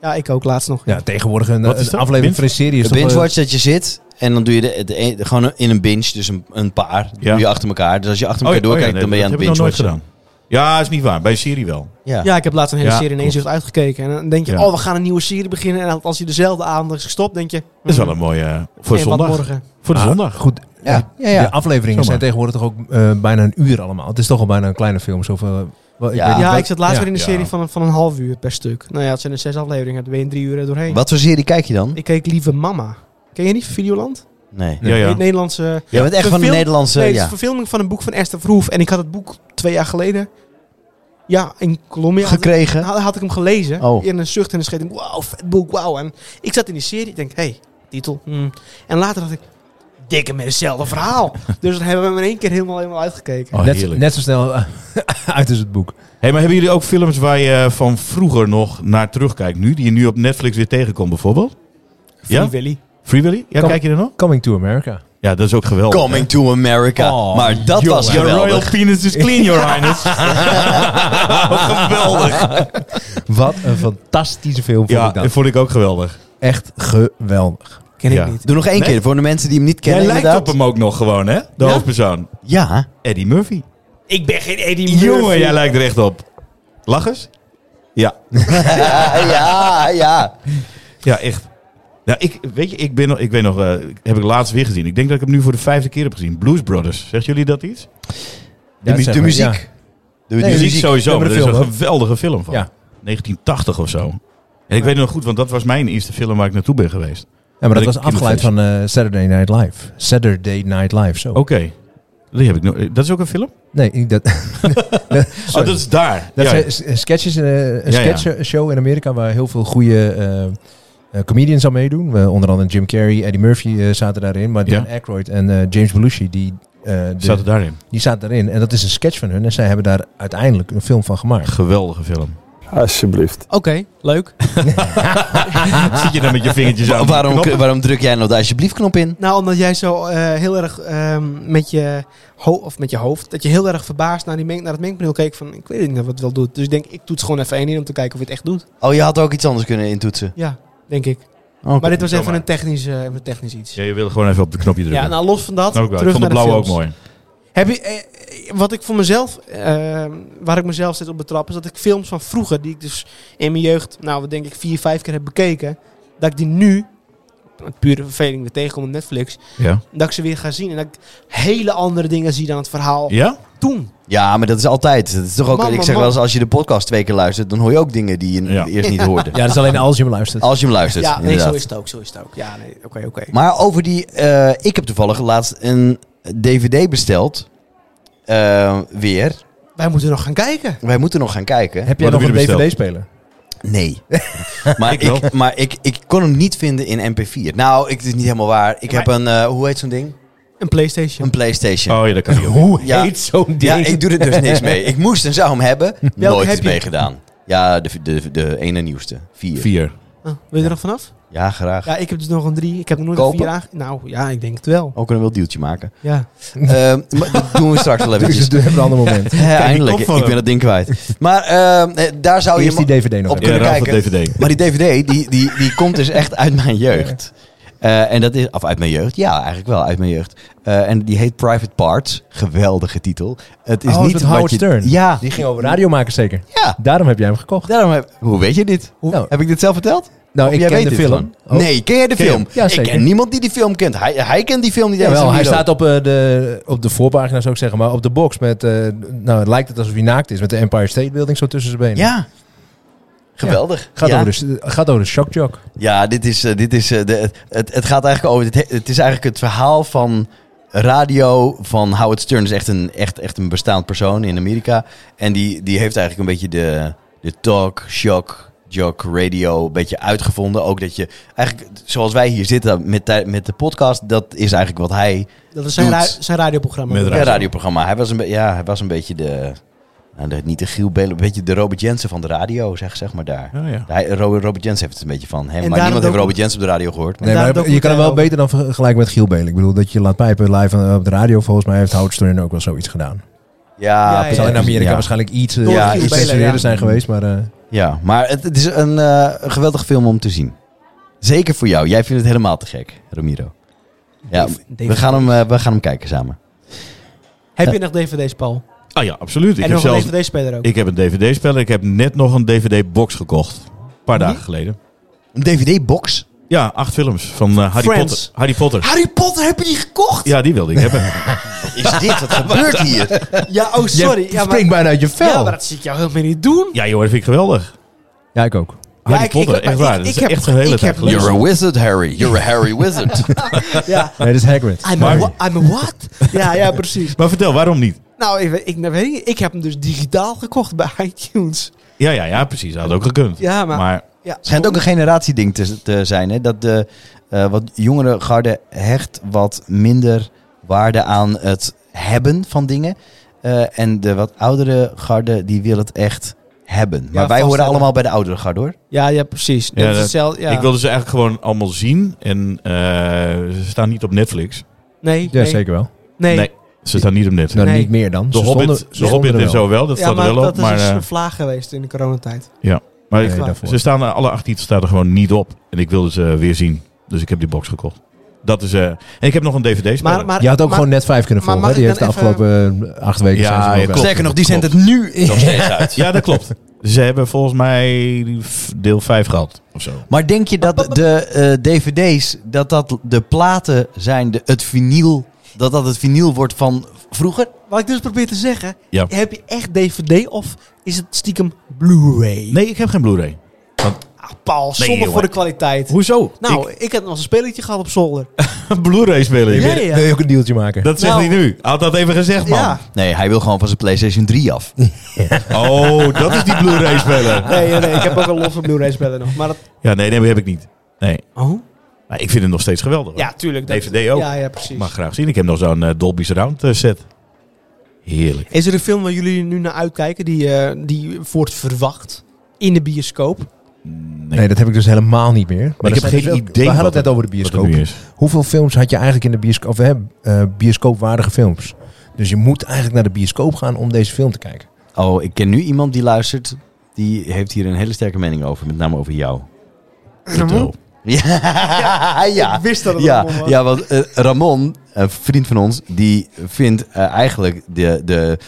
S6: Ja, ik ook laatst nog.
S3: Ja, tegenwoordig een,
S4: Wat is
S3: een
S4: dat?
S3: aflevering van een serie is
S2: Een
S3: toch... eh,
S2: binge-watch dat je zit en dan doe je de, e- de een- gewoon in een binge, dus een, een paar.
S4: Ja.
S2: doe je achter elkaar. Dus als je achter elkaar
S4: Oh, ja,
S2: doorkijkt,
S4: nee,
S2: dan ben je aan
S4: dat
S2: het dus.
S4: heb ik nog nooit
S2: binge-watchen.
S4: gedaan. Ja, is niet waar. Bij een serie wel.
S2: Ja.
S6: Ja, ik heb laatst een hele
S4: Ja,
S6: serie in één
S4: klopt.
S6: zicht uitgekeken. En dan denk je,
S4: Ja.
S6: oh, we gaan een nieuwe serie beginnen. En als je dezelfde avond is gestopt, denk je...
S4: Dat is wel
S6: hmm,
S4: een mooie... eh, Voor
S6: eh, wat
S4: zondag.
S6: morgen.
S4: Voor de
S3: ah,
S4: zondag.
S3: Goed,
S2: Ja. Ja,
S3: de
S2: ja.
S3: afleveringen zijn
S4: Zomaar.
S3: tegenwoordig toch ook eh, bijna een uur allemaal. Het is toch al bijna een kleine film. Zoveel, wel, ik
S2: Ja.
S3: weet niet
S6: Ja,
S3: wat-
S6: ik zat laatst
S3: ja.
S6: weer in een
S4: Ja.
S6: serie van, een- van een half uur per stuk. Nou ja, het zijn er zes afleveringen. Daar ben je in drie uur er doorheen.
S2: Wat voor serie kijk je dan?
S6: Ik keek Lieve Mama. Ken je die van Videoland?
S2: Nee.
S4: Ja, ja.
S6: Het Nederlandse...
S2: Jij bent echt van de
S6: Verfilmd-
S2: Nederlandse...
S6: Nee, het is
S2: ja.
S6: een verfilming van een boek van Esther Verhoef. En ik had het boek twee jaar geleden... Ja, in Colombia. had ik-
S2: Gekregen.
S6: had, had ik hem gelezen.
S2: Oh.
S6: In een zucht en een scheet. Wauw, vet boek, wauw. En ik zat in die serie. Ik denk, hé, hey, titel. hmm. En later dacht ik, dikke met hetzelfde
S4: <laughs>
S6: verhaal. dus dan hebben we hem in één keer helemaal, helemaal uitgekeken.
S4: Oh,
S3: Net,
S4: heerlijk.
S3: net zo snel eh, <laughs> uit is het boek.
S4: Hey, maar hebben jullie ook films waar je eh, van vroeger nog naar terugkijkt nu? Die je nu op Netflix weer tegenkomt bijvoorbeeld?
S6: Free
S4: ja?
S6: Willy.
S4: Free Willy? Ja,
S3: Kom.
S4: kijk je er nog?
S3: Coming to America.
S4: Ja, dat is ook geweldig.
S2: Coming to America.
S3: Oh,
S2: maar dat was
S4: Your royal
S2: geweldig.
S4: penis is clean, your highness. <laughs> geweldig.
S3: Wat een fantastische film vond
S4: Ja,
S3: ik
S4: dat
S3: dat.
S4: vond ik ook geweldig.
S3: Echt geweldig.
S6: Ken ik
S4: Ja.
S6: niet.
S2: Doe nog één
S4: Nee?
S2: keer voor de mensen die hem niet
S4: Jij
S2: kennen.
S4: lijkt
S2: inderdaad.
S4: op hem ook nog gewoon, hè? De
S6: Ja?
S4: hoofdpersoon.
S2: Ja.
S4: Eddie Murphy.
S6: Ik ben geen Eddie Murphy.
S4: Jongen, jij lijkt er echt op. Lach eens. Ja.
S2: Ja, ja, ja.
S4: Ja, echt. Nou, ik, weet je, ik, ben, nog- ik weet nog, eh, heb ik laatst weer gezien. Ik denk dat ik hem nu voor de vijfde keer heb gezien. Blues Brothers. Zegt jullie dat iets?
S2: De, mu-
S3: Ja, zeg
S2: de
S3: maar,
S2: muziek.
S3: ja.
S2: De
S3: Nee,
S4: muziek,
S2: muziek.
S4: sowieso,
S3: Ja, maar
S4: maar
S3: de
S4: er is een
S3: film ook.
S4: geweldige film van.
S3: Ja.
S4: 1980 of zo. En ik weet het nog goed, want dat was mijn eerste film waar ik naartoe ben
S3: Ja,
S4: geweest.
S3: maar
S4: Ben
S3: dat
S4: ik
S3: was afgeleid van eh, Saturday Night Live. Saturday Night Live, zo.
S4: Oké. Die heb ik nog. Dat is ook een film?
S3: Nee, ik- dat,
S4: Oh, dat is daar.
S3: dat
S4: Ja,
S3: zijn s- eh, sketches, eh, een
S4: Ja, ja.
S3: sketchshow in Amerika waar heel veel goede eh, eh, comedians aan meedoen. Eh, onder andere Jim Carrey, Eddie Murphy eh, zaten daarin. Maar Dan
S4: Ja.
S3: Aykroyd en eh, James Belushi, die, eh, de-
S4: Zat het daarin.
S3: die zaten daarin. En dat is een sketch van hun. En zij hebben daar uiteindelijk een film van gemaakt.
S4: Geweldige <laughs> film.
S7: Alsjeblieft.
S6: Oké, leuk.
S4: Zit je dan met je vingertjes aan?
S2: Wa-
S4: die knoppen?
S2: waarom, waarom druk jij nou de alsjeblieft knop in?
S6: Nou, omdat jij zo eh, heel erg ehm, met, je ho- of met je hoofd... dat je heel erg verbaasd naar, die meng- naar het mengpaneel keek van... ik weet niet of het wel doet. Dus ik denk, ik toets gewoon even één in om te kijken of je het echt doet.
S2: Oh, je had ook iets anders kunnen intoetsen.
S6: Ja, denk ik.
S4: Oh,
S2: Oké.
S6: Maar dit was even
S4: zomaar.
S6: een technisch, eh, een technisch iets.
S4: Ja, je wil gewoon even op de knopje drukken.
S6: Ja, nou los van dat,
S4: Ook wel. Ik
S6: terug
S4: vond de
S6: naar
S4: blauwe ook
S6: films.
S4: mooi.
S6: Heb je, eh, eh, wat ik voor mezelf, eh, waar ik mezelf steeds op betrap, is dat ik films van vroeger, die ik dus in mijn jeugd, nou wat denk ik, vier, vijf keer heb bekeken, dat ik die nu, met pure verveling weer tegenkom op Netflix,
S4: Ja.
S6: dat ik ze weer ga zien en dat ik hele andere dingen zie dan het verhaal
S4: Ja?
S6: toen.
S2: Ja, maar dat is altijd. Dat is toch ook,
S6: Man,
S2: ik
S6: man,
S2: zeg
S6: man.
S2: wel eens, als je de podcast twee keer luistert, dan hoor je ook dingen die je
S4: Ja.
S2: eerst niet
S6: <laughs>
S2: hoorde.
S3: Ja, dat is alleen als je hem luistert.
S2: Als je hem luistert,
S6: ja, nee,
S2: inderdaad.
S6: zo is het ook, zo is het ook. Ja, nee, oké, oké.
S2: Maar over die... eh, ik heb toevallig laatst een DVD besteld. Eh, weer.
S6: Wij moeten nog gaan kijken.
S2: Wij moeten nog gaan kijken.
S3: Heb jij
S4: Wat
S3: nog een
S4: hebben jullie
S3: DVD-speler?
S2: Nee. maar ik,
S4: wel.
S2: maar ik, ik kon hem niet vinden in MP4. Nou, ik, het is niet helemaal waar. Ik heb een... eh, hoe heet zo'n ding?
S6: Een PlayStation.
S2: Een Playstation.
S4: Oh ja, dat kan niet.
S3: Hoe
S2: Ja.
S3: heet zo'n ding?
S2: ja, ik doe er dus niks mee. Ik moest en zou hem hebben. Nooit
S6: heb
S2: iets
S6: je?
S2: meegedaan. Ja, de, de, de ene nieuwste. Vier.
S4: Vier.
S6: Ah, wil je er nog vanaf?
S2: Ja, graag.
S6: Ja, ik heb dus nog een drie. Ik heb er nooit
S2: Kopen?
S6: een vier aange... Nou, ja, ik denk het wel.
S2: Ook kunnen we wel een deeltje maken.
S3: <laughs>
S6: Ja.
S2: Ehm, maar dat doen we straks wel
S3: Dus
S2: eventjes.
S3: <laughs> het hebben we een ander moment.
S2: Ja, eindelijk.
S4: kop van
S2: Ik
S4: hem.
S2: ben dat ding kwijt. Maar ehm, eh, daar zou je...
S3: Eerst die
S2: ma-
S3: DVD nog
S2: op
S3: even.
S4: Ja,
S2: kunnen
S4: raad van
S2: kijken.
S4: DVD.
S2: Maar die DVD, die, die, die komt dus echt uit mijn jeugd. Eh, en dat is, of uit mijn jeugd, ja, eigenlijk wel uit mijn jeugd. Eh, en die heet Private Parts. Geweldige titel. Het is
S3: Oh,
S2: niet
S3: met
S2: wat
S3: Howard
S2: je-
S3: Stern.
S2: Ja,
S3: Die ging over radio maken zeker.
S2: ja.
S3: Daarom heb jij hem gekocht.
S2: Daarom heb, hoe weet je dit? Hoe-
S3: Nou.
S2: heb ik dit zelf verteld?
S3: Nou,
S2: Of
S3: ik
S2: jij
S3: ken
S2: weet
S3: de
S2: dit
S3: film. Oh.
S2: gewoon? Nee, ken jij de
S4: Ken je
S2: film?
S3: hem? Ja,
S2: ik
S3: zeker.
S2: ken niemand die die film kent. Hij, hij kent die film niet.
S3: Ja,
S2: eens.
S3: wel, hij
S2: Milo.
S3: staat op eh, de, op de voorpagina, zou ik zeggen, maar op de box met, eh, nou, het lijkt het alsof hij naakt is met de Empire State Building zo tussen zijn benen.
S2: Ja. Geweldig.
S3: Gaat,
S2: ja.
S3: Over de, gaat over de shock jock.
S2: Ja, dit is, eh, dit is, eh, de, het, het gaat eigenlijk over. Het, he- het is eigenlijk het verhaal van radio van Howard Stern. is echt een, echt, echt een bestaand persoon in Amerika. En die, die heeft eigenlijk een beetje de, de talk, shock, jock, radio een beetje uitgevonden. Ook dat je eigenlijk, zoals wij hier zitten met, tij- met de podcast, dat is eigenlijk wat hij.
S6: Dat is zijn,
S2: Doet.
S6: ra- zijn radioprogramma.
S4: Met
S2: Ja,
S4: radio.
S2: radioprogramma. Hij was een, be- ja, hij was een beetje de. Nou, de- niet de Giel Belen, een beetje de Robert Jensen van de radio, zeg, zeg maar daar.
S4: Ja, ja.
S2: Hij, Ro- Robert Jensen heeft het een beetje van hem,
S6: En
S2: maar
S6: daarom
S2: niemand heeft
S6: ook-
S2: Robert Jensen op de radio gehoord. maar-
S6: En
S3: Nee, maar
S6: daar
S3: je kan hem wel
S6: documentaire
S3: beter dan vergelijken met Giel Belen. Ik bedoel, dat je laat pijpen live eh, op de radio. Volgens mij heeft Houtstreun ook wel zoiets gedaan.
S2: ja,
S6: Ja,
S3: Het zal in Amerika
S2: ja.
S3: waarschijnlijk iets, eh,
S6: Door
S2: Giel
S3: iets
S2: Belen,
S3: censureerder
S6: ja.
S3: zijn geweest. Maar eh,
S2: Ja, maar het, het is een eh, een geweldig film om te zien. Zeker voor jou. Jij vindt het helemaal te gek, Ramiro. Ja,
S6: Dave- Dave-
S2: we gaan, hem, eh, we gaan hem kijken samen.
S6: Heb je nog dvd's, Paul?
S4: Ah ja, absoluut. Ik
S6: en
S4: heb,
S6: nog een
S4: zelfs,
S6: dvd-speler ook.
S4: ik heb een DVD-speler. Ik heb net nog een DVD-box gekocht. Een paar dagen geleden.
S2: Een DVD-box?
S4: Ja, acht films van eh, Harry
S6: Friends.
S4: Potter. Harry Potter.
S6: Harry Potter, heb je die gekocht?
S4: Ja, die wilde ik
S6: <laughs>
S4: hebben.
S2: Is dit? <laughs> Wat gebeurt hier?
S6: Ja, oh
S3: je
S6: sorry. Ja, maar,
S3: springt bijna uit je vel.
S6: ja, maar dat zie ik jou helemaal niet doen.
S4: Ja joh, dat vind ik geweldig.
S3: Ja, ik ook.
S4: Harry
S6: ik- ik-
S4: Potter,
S6: maar
S4: echt waar.
S6: ik-
S4: dat
S6: ik
S4: is
S6: heb-
S4: echt een hele tijd
S6: ik heb
S4: geleden.
S2: You're a wizard, Harry. You're a Harry <laughs> wizard.
S6: Ja.
S3: Nee, dat is Hagrid.
S6: I'm a, wha- I'm a
S4: <laughs>
S6: what? ja, ja, precies.
S4: Maar vertel, waarom niet?
S6: Nou, ik, weet- ik, nou, weet niet. ik heb hem dus digitaal gekocht bij <laughs> iTunes.
S4: Ja, ja, ja, precies. Dat had ook gekund.
S6: Ja, maar...
S4: Maar
S6: ja,
S2: Schijnt ook een generatieding te, te zijn. Hè? Dat de eh, wat jongere garde hecht wat minder waarde aan het hebben van dingen. Eh, en de wat oudere garde die wil het echt hebben. Maar wij horen
S6: vaststellen.
S2: allemaal bij de oudere garde hoor.
S6: ja, ja, precies.
S4: Ja,
S6: dat is
S4: dat-
S6: hetzelfde, ja.
S4: ik wilde ze eigenlijk gewoon allemaal zien. En eh, ze staan niet op Netflix.
S6: Nee,
S3: Ja,
S6: nee,
S3: zeker wel.
S6: Nee.
S4: Nee. Ze staan niet op Netflix.
S3: Nou,
S6: Nee.
S3: niet meer dan.
S4: De
S3: Ze
S4: Hobbit,
S3: stonden-
S4: de
S3: ze stonden
S4: Hobbit
S3: er
S4: en
S3: wel.
S4: zo wel, dat
S6: Ja,
S4: staat er
S6: maar
S4: wel
S6: dat
S4: op. Maar,
S6: is dus
S4: eh,
S6: een vlaag geweest in de coronatijd.
S4: maar
S3: Nee,
S4: ik-
S3: daarvoor.
S4: ze staan, eh, alle acht titels staan er gewoon niet op. En ik wilde ze weer zien. Dus ik heb die box gekocht. Dat is, eh, en ik heb nog een DVD-speler.
S6: Maar, maar,
S3: Je had ook
S6: maar-
S3: gewoon net vijf kunnen
S6: maar
S3: volgen. hè?
S6: mag
S3: Die
S6: ik
S3: heeft de
S6: dan even-
S3: afgelopen eh, acht weken
S4: Ja,
S3: zijn ze
S4: ja,
S3: nog wel.
S4: klopt. Zeker nog, die zendt het
S2: nu nog steeds uit.
S4: Ja, dat klopt. Ze hebben volgens mij deel 5 gehad of zo.
S2: <laughs> Maar denk je dat de eh, dvd's, dat dat de platen zijn, de, het vinyl, dat dat het vinyl wordt van vroeger?
S6: Wat ik dus probeer te zeggen,
S4: Ja.
S6: heb je echt DVD of is het stiekem Blu-ray?
S4: Nee, ik heb geen Blu-ray.
S6: Ah, Paul,
S4: Nee,
S6: sommer
S4: jongen.
S6: voor de kwaliteit.
S4: Hoezo?
S6: Nou, ik, had nog eens een spelletje gehad op zolder.
S4: Een Blu-ray speler.
S6: Ja,
S3: Wil je ook een dealtje maken?
S4: Dat zegt
S6: Nou.
S4: hij nu. Had dat even gezegd, man.
S6: Ja.
S2: Nee, hij wil gewoon van zijn PlayStation 3 af.
S4: Oh, dat is die Blu-ray speler.
S6: Nee, nee, nee, ik heb ook een losse Blu-ray spellen nog. Maar dat...
S4: Ja, nee, nee, die heb ik niet. Nee.
S6: Oh?
S4: Maar ik vind het nog steeds geweldig. hoor.
S6: Ja, tuurlijk. dat-
S4: DVD ook.
S6: Ja, ja, precies.
S4: Ik mag graag zien. Ik heb nog zo'n eh, Dolby Surround eh, set. Heerlijk.
S6: Is er een film waar jullie nu naar uitkijken die, eh, die wordt verwacht in de bioscoop?
S4: Nee,
S3: Nee. dat heb ik dus helemaal niet meer. Maar
S4: heb
S3: dat-
S4: geen
S3: dat-
S4: idee
S3: We hadden
S4: wat
S3: het net
S4: het-
S3: over de
S4: wat
S3: bioscoop.
S4: het nu is.
S3: Hoeveel films had je eigenlijk in de bioscoop? Of we hebben eh, bioscoopwaardige films. Dus je moet eigenlijk naar de bioscoop gaan om deze film te kijken.
S2: Oh, ik ken nu iemand die luistert. Die heeft hier een hele sterke mening over, met name over jou.
S4: Vertel.
S2: Ja, <laughs> ja.
S6: Ik wist dat het
S2: ja,
S6: Ramon was.
S2: ja, want eh, Ramon, een vriend van ons, die vindt eh, eigenlijk de, de.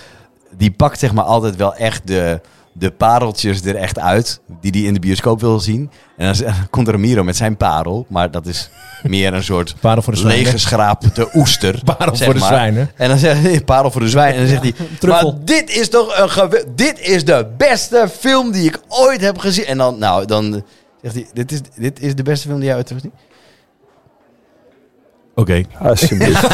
S2: Die pakt zeg maar altijd wel echt de, de pareltjes er echt uit. Die hij in de bioscoop wil zien. En dan z- <laughs> komt Ramiro met zijn parel. Maar dat is meer een
S3: <laughs>
S2: soort
S3: Parel voor de zwijnen.
S2: leeggeschraapte oester.
S3: Parel
S2: zeg
S3: voor de
S2: maar.
S3: zwijnen.
S2: En dan zegt hij, parel voor de zwijn. En dan zegt hij,
S6: truffel.
S2: maar dit is toch een gewe- Dit is de beste film die ik ooit heb gezien. En dan, nou, dan zegt hij, dit is, dit is de beste film die jij ooit hebt gezien.
S4: Oké.
S7: Alsjeblieft.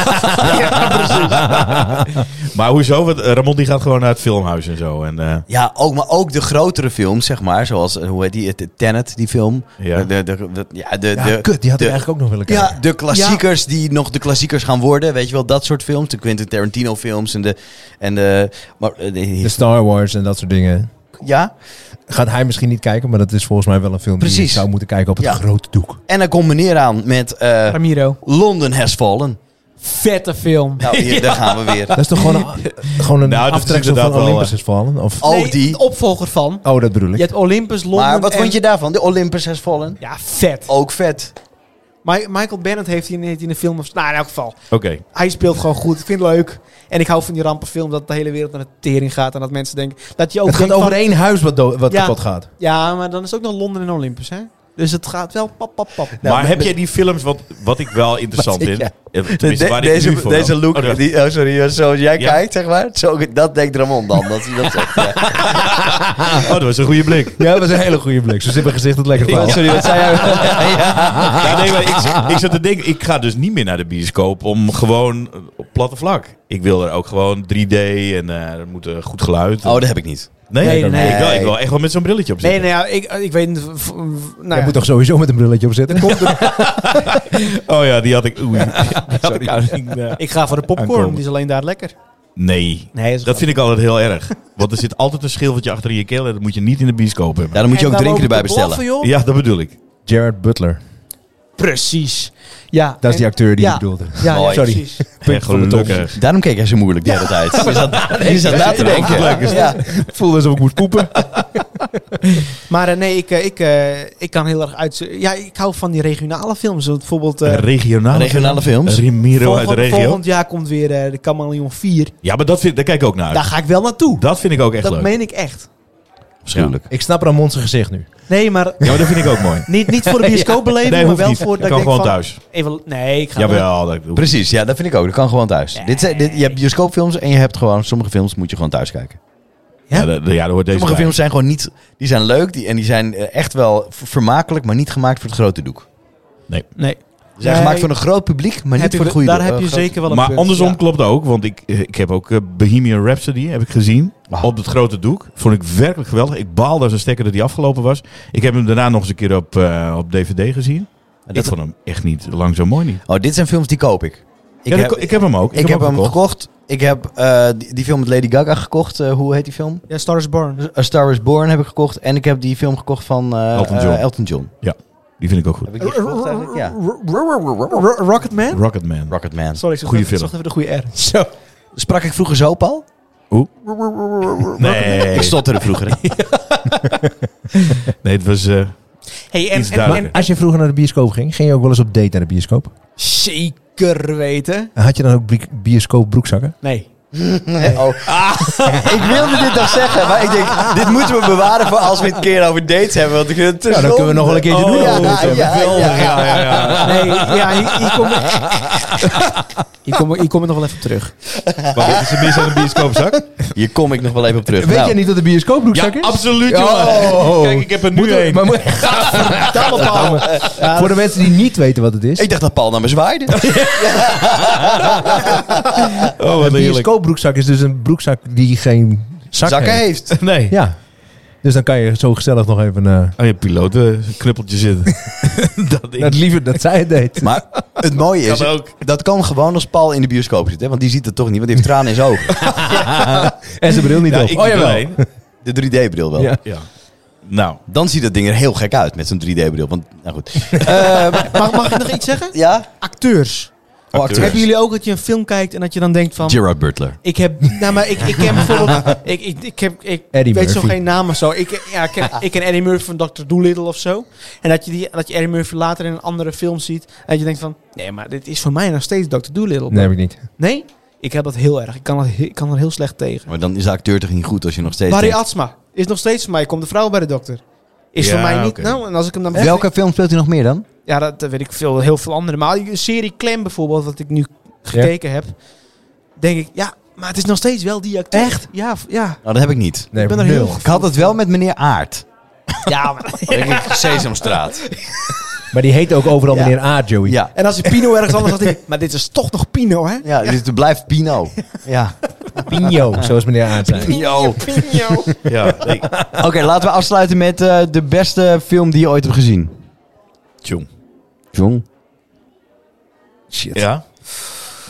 S4: Maar hoezo? Want eh, Ramon die gaat gewoon naar het filmhuis en zo. En, eh,
S2: Ja, ook, maar ook de grotere films, zeg maar. Zoals, eh, hoe heet die, eh, Tenet, die film.
S4: Ja.
S2: De, de, de- de- ja, de,
S3: Ja,
S2: de,
S3: kut. Die had
S2: de-
S3: ik eigenlijk ook nog willen kijken.
S2: Ja, de klassiekers die nog de klassiekers gaan worden. Weet je wel, dat soort films. De Quentin Tarantino films en de... En de, maar, eh, de-
S3: De Star Wars en dat soort dingen.
S2: ja,
S3: Gaat hij misschien niet kijken, maar dat is volgens mij wel een film die je
S2: Precies.
S3: zou moeten kijken op het
S2: Ja.
S3: grote doek.
S2: en dan komt meneer aan met eh,
S6: Ramiro.
S2: London Has Fallen.
S6: Vette film.
S2: Nou,
S3: <laughs>
S2: hier, daar gaan we weer.
S3: Dat is toch gewoon
S4: <laughs>
S3: een, gewoon een
S4: Nou, dat is
S3: aftreksel van
S4: inderdaad wel,
S3: Olympus
S4: eh,
S3: is vallen? Of,
S2: Oh, die.
S6: de opvolger van.
S3: oh, dat bedoel
S6: Je
S3: ik.
S6: hebt Olympus, Londen
S2: Maar wat
S6: en-
S2: vond je daarvan? De Olympus Has Fallen?
S6: Ja, vet.
S2: Ook vet.
S6: Mi- Michael Bennett heeft hier net in de film... of- Nou, in elk geval.
S4: Oké.
S6: Hij speelt gewoon goed. Ik vind het leuk. En ik hou van die rampenfilm dat de hele wereld naar de tering gaat. En dat mensen denken... Dat je ook
S3: Het gaat
S6: denkt
S3: over
S6: van-
S3: één huis wat, do- wat
S6: Ja.
S3: kapot gaat.
S6: Ja, maar dan is het ook nog Londen en Olympus, hè? Dus het gaat wel pap, pap, pap.
S4: maar heb jij die films, wat, wat ik wel interessant
S2: Wat ik-
S4: vind...
S2: ja.
S4: eh, tenminste, waar ik nu
S2: deze,
S4: voor
S2: deze
S4: was.
S2: look,
S4: Oh, dat-
S2: die, oh, sorry, zoals jij
S4: Ja.
S2: kijkt, zeg maar. Zo, dat denkt Ramon dan, dat hij dat zegt.
S4: <laughs>
S2: Ja.
S4: oh, dat was een goede blik.
S3: Ja, dat was een hele goede blik. Zo zit mijn gezicht het lekker
S4: Oh,
S3: vast.
S2: Sorry, wat zei jij?
S4: Ja, nee, maar ik, ik zat te denken, ik ga dus niet meer naar de bioscoop om gewoon eh, op platte vlak. Ik wil er ook gewoon 3D en eh er moet eh, goed geluid.
S2: Oh, dat heb ik niet.
S4: nee,
S6: nee, nee.
S4: Ik, wil, ik wil echt wel met zo'n brilletje op
S6: Nee,
S4: zitten.
S6: nou ja, ik, ik weet niet... v- v- Nou
S3: Jij
S6: ja.
S3: moet toch sowieso met een brilletje op zitten? <laughs>
S4: Oh ja, die had ik. Oei. Sorry.
S6: Ik ga voor de popcorn,
S4: Aankomen.
S6: die is alleen daar lekker.
S4: eh. Nee.
S6: Nee,
S4: Dat vind ik altijd heel erg. Want er zit altijd een schilfertje achter in je keel en dat moet je niet in de bioscoop hebben.
S2: Daarom moet je ook drinken erbij bestellen.
S4: Ja, dat bedoel ik.
S7: Jared Butler.
S6: Precies. Ja,
S7: Dat is die
S6: en-
S7: acteur die
S6: ja.
S7: je bedoelde.
S6: Ja, ja,
S2: Mooi.
S6: sorry. <laughs> precies.
S4: En gelukkig.
S2: Daarom keek hij zo moeilijk de hele tijd. Je <laughs> zat, je zat na te denken. Ja.
S7: voelde alsof ik moest poepen.
S6: Maar eh, nee, ik, eh, ik, eh, ik kan heel erg uit... Ja, ik hou van die regionale films. Want Bijvoorbeeld... eh,
S4: Regionale,
S2: Regionale films.
S4: Ramiro uit de
S6: volgend,
S4: regio.
S6: volgend jaar komt weer eh, de Kameleon 4.
S4: Ja, maar dat vind, daar kijk ik ook naar.
S6: Daar ga ik wel naartoe.
S4: Ah, Dat vind ik ook echt
S6: dat
S4: leuk.
S6: meen ik echt.
S2: Schuwelijk.
S3: Ik snap Ramon zijn gezicht nu.
S6: Nee, maar
S4: Ja, maar dat vind ik ook
S6: <laughs>
S4: mooi.
S6: niet, niet
S4: <laughs>
S6: voor de bioscoopbeleving,
S4: Nee,
S6: maar
S4: hoeft
S6: wel
S4: niet.
S6: voor...
S4: Ik
S6: dat
S4: kan
S6: ik
S4: gewoon
S6: denk van,
S4: thuis.
S6: Even, nee, ik ga wel-
S4: Jawel, dat doe ik.
S2: Precies, ja, dat vind ik ook. Dat kan gewoon thuis. Dit, zijn- dit, je hebt bioscoopfilms en je hebt gewoon... Sommige films moet je gewoon thuis kijken.
S4: Ja, dat, ja, daar hoort deze
S2: Sommige
S4: bij.
S2: films zijn gewoon niet... Die zijn leuk die, en die zijn eh, echt wel ver- vermakelijk, maar niet gemaakt voor het grote doek.
S6: Nee.
S2: Ze zijn
S6: Nee.
S2: gemaakt voor een groot publiek, maar niet
S6: Heb je
S2: voor
S6: de-
S2: het goede
S6: Daar
S2: doel-
S6: heb
S2: eh,
S6: je
S2: grote-
S6: zeker wel een
S4: Maar
S6: punt,
S4: andersom
S6: ja.
S4: klopt ook, want ik, eh, ik heb ook eh, Bohemian Rhapsody heb ik gezien.
S2: Ah.
S4: Op het grote doek. Vond ik werkelijk geweldig. Ik baalde als een stekker dat die afgelopen was. Ik heb hem daarna nog eens een keer op, eh, op DVD gezien.
S2: dat-
S4: ik vond hem echt niet lang zo mooi niet.
S2: Oh, dit zijn films die koop ik. Ik
S4: Ja, dat
S2: heb,
S4: ko-
S2: ik,
S4: ik heb hem ook.
S2: heb, hem gekocht.
S4: gekocht.
S2: Ik heb eh, die, die film met Lady Gaga gekocht. Eh, hoe heet die film?
S6: Ja, Star is Born.
S2: A Star is Born heb ik gekocht. En ik heb die film gekocht van eh,
S4: Elton
S2: eh,
S4: John.
S2: Elton John.
S4: Die vind ik ook goed.
S2: Heb ik die gekocht eigenlijk? Ja. <laughs>
S6: Ro- Rocketman?
S4: Rocketman.
S2: Rocketman.
S6: Sorry, ik zocht
S4: Goeie
S6: even, ik
S4: film.
S6: zocht even de goede R.
S2: Sprak ik vroeger zo, Paul?
S4: nee.
S2: Ik stotterde vroeger.
S4: <laughs>
S2: hè?
S4: nee, het was... eh,
S6: Hey, en,
S4: Iets
S6: en, en,
S4: duidelijker.
S3: Als je vroeger naar de bioscoop ging, ging je ook wel eens op date naar de bioscoop?
S6: zeker weten.
S3: Had je dan ook bi- bioscoop broekzakken?
S6: Nee.
S2: Nee, <laughs> oh. Ik wilde dit nog zeggen, maar ik denk, dit moeten we bewaren voor als we het een keer over dates hebben. Want ik vind het te
S3: Ja, dan kunnen we nog wel een keertje
S2: zonde.
S3: doen.
S2: Ja, nou, ja, ja, ja.
S4: ja, ja.
S6: Nee, ja, hier, hier kom <laughs> ik... Hier kom, ik- hier kom ik nog wel even op terug.
S4: Maar dit is een mis aan een bioscoopzak?
S2: Hier kom ik nog wel even op terug.
S3: Weet
S2: Nou,
S3: jij niet dat de bioscoop
S4: Ja,
S3: broekzak is?
S4: absoluut,
S3: Oh.
S4: jongen. Kijk, ik heb er nu
S3: Moeten we-
S4: een.
S3: maar moet- Voor de mensen die niet weten wat het is.
S2: Ik dacht dat Paul naar me zwaaide.
S4: Oh, wat
S3: Een
S4: heerlijk.
S3: bioscoopbroekzak is dus een broekzak die geen zak
S2: Zakken
S3: heeft.
S2: heeft.
S4: Nee.
S3: Ja. Dus dan kan je zo gezellig nog even... eh
S4: Oh, je pilotenknuppeltje <laughs> zitten. dat ik.
S3: dat liever dat zij het
S2: <laughs>
S3: deed.
S2: Maar het mooie is,
S4: Kan ook.
S2: dat kan gewoon als Paul in de bioscoop zit. Hè? Want die ziet het toch niet, want die heeft tranen in zijn ogen.
S3: <laughs> En zijn bril niet
S4: Ja,
S3: op.
S4: ik
S3: Oh
S4: niet
S3: jawel.
S4: alleen.
S2: De 3D-bril wel.
S3: Ja.
S4: Ja. Nou,
S2: Dan ziet dat ding er heel gek uit met zo'n 3D-bril. Want, nou goed.
S6: Eh, mag, mag ik nog iets zeggen?
S2: Ja? Oh,
S6: Acteurs.
S2: Acteurs.
S6: Hebben jullie ook dat je een film kijkt en dat je dan denkt van...
S2: Gerard Butler.
S6: Ik heb, nou maar ik, ik ken bijvoorbeeld, ik, ik, ik, heb, ik
S3: Eddie
S6: weet zo
S3: Murphy.
S6: geen naam of zo. Ik, ja, ik, ken, ik ken Eddie Murphy van Dr. Doolittle of zo. En dat je, die, dat je Eddie Murphy later in een andere film ziet. En dat je denkt van, nee maar dit is voor mij nog steeds Dr. Doolittle.
S3: Nee, heb ik niet.
S6: Nee? Ik heb dat heel erg. Ik kan, dat, he- ik kan er heel slecht tegen.
S2: Maar dan is de acteur toch niet goed als je nog steeds
S6: Barry
S2: denkt-
S6: Atsma is nog steeds voor mij. Komt de vrouw bij de dokter. Is
S4: Ja,
S6: voor mij niet.
S4: oké.
S6: Nou, en als ik hem dan...
S2: Welke film speelt hij nog meer dan?
S6: Ja, dat eh, weet ik veel. Heel veel andere. Maar een serie Clem bijvoorbeeld, wat ik nu gekeken heb. Denk ik, ja, maar het is nog steeds wel die acteur. Echt? Ja, v- ja.
S2: Nou, dat heb ik niet.
S3: Nee,
S6: Ik ben er
S3: nul.
S6: heel
S2: Ik had het wel met meneer Aard.
S6: Ja, maar...
S2: Denk ik, Sesamstraat.
S3: Maar die heet ook overal
S2: Ja.
S3: meneer A, Joey.
S2: Ja.
S6: En als je Pino ergens anders had, denk ik, maar dit is toch nog Pino, hè?
S2: Ja, dus het blijft Pino. <laughs> Ja.
S3: Pino, zoals meneer A zei.
S2: Pino.
S6: Pino.
S4: <laughs> ja. ik-
S2: Oké, laten we afsluiten met eh, de beste film die je ooit hebt gezien.
S4: Tjong.
S2: Jong.
S3: Shit.
S4: Ja.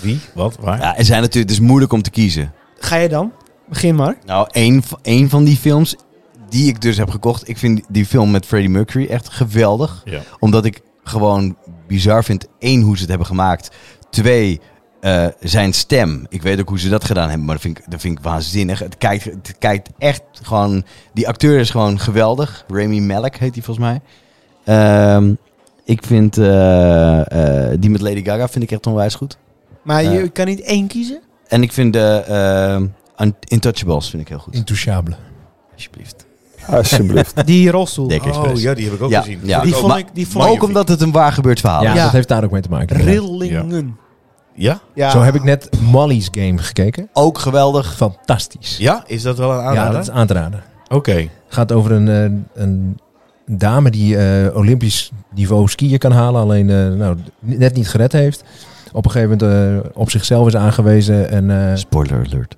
S4: Wie? Wat? Waar?
S2: Ja, er zijn natuurlijk, het is moeilijk om te kiezen.
S6: Ga je dan? Begin maar.
S2: Nou, één, v- één van die films die ik dus heb gekocht. Ik vind die film met Freddie Mercury echt geweldig.
S4: Ja.
S2: Omdat ik gewoon bizar vind. één, hoe ze het hebben gemaakt. Twee, eh, zijn stem. Ik weet ook hoe ze dat gedaan hebben. Maar dat vind ik, dat vind ik waanzinnig. Het kijkt, het kijkt echt gewoon... Die acteur is gewoon geweldig. Rami Malek heet die volgens mij. Ehm, ik vind... eh, eh, die met Lady Gaga vind ik echt onwijs goed.
S6: Maar
S2: Ja.
S6: je kan niet één kiezen?
S2: En ik vind de... ehm, Un- Intouchables vind ik heel goed.
S3: Intouchable.
S2: Alsjeblieft.
S7: Alsjeblieft.
S6: Die rolstoel.
S2: Dick Express.
S4: Oh, die heb ik ook
S2: Ja, ja.
S6: Die
S2: ook.
S6: vond
S2: Maar-
S6: ik... Die vond
S2: Maar
S6: ik
S2: oh, ook omdat het een waar gebeurd verhaal
S3: Ja,
S2: is.
S6: Ja.
S3: dat heeft daar ook mee te maken.
S6: rillingen.
S4: Ja?
S6: Ja.
S3: Zo heb ik net Molly's Game gekeken.
S2: Ook geweldig.
S3: Fantastisch.
S4: Ja? Is dat wel een
S3: Ja,
S4: aanrader?
S3: dat is aan te raden.
S4: Oké.
S3: gaat over een, eh, een dame die eh, Olympisch niveau skiën kan halen, alleen eh, nou, net niet gered heeft. Op een gegeven moment eh, op zichzelf is aangewezen en, eh,
S2: Spoiler alert.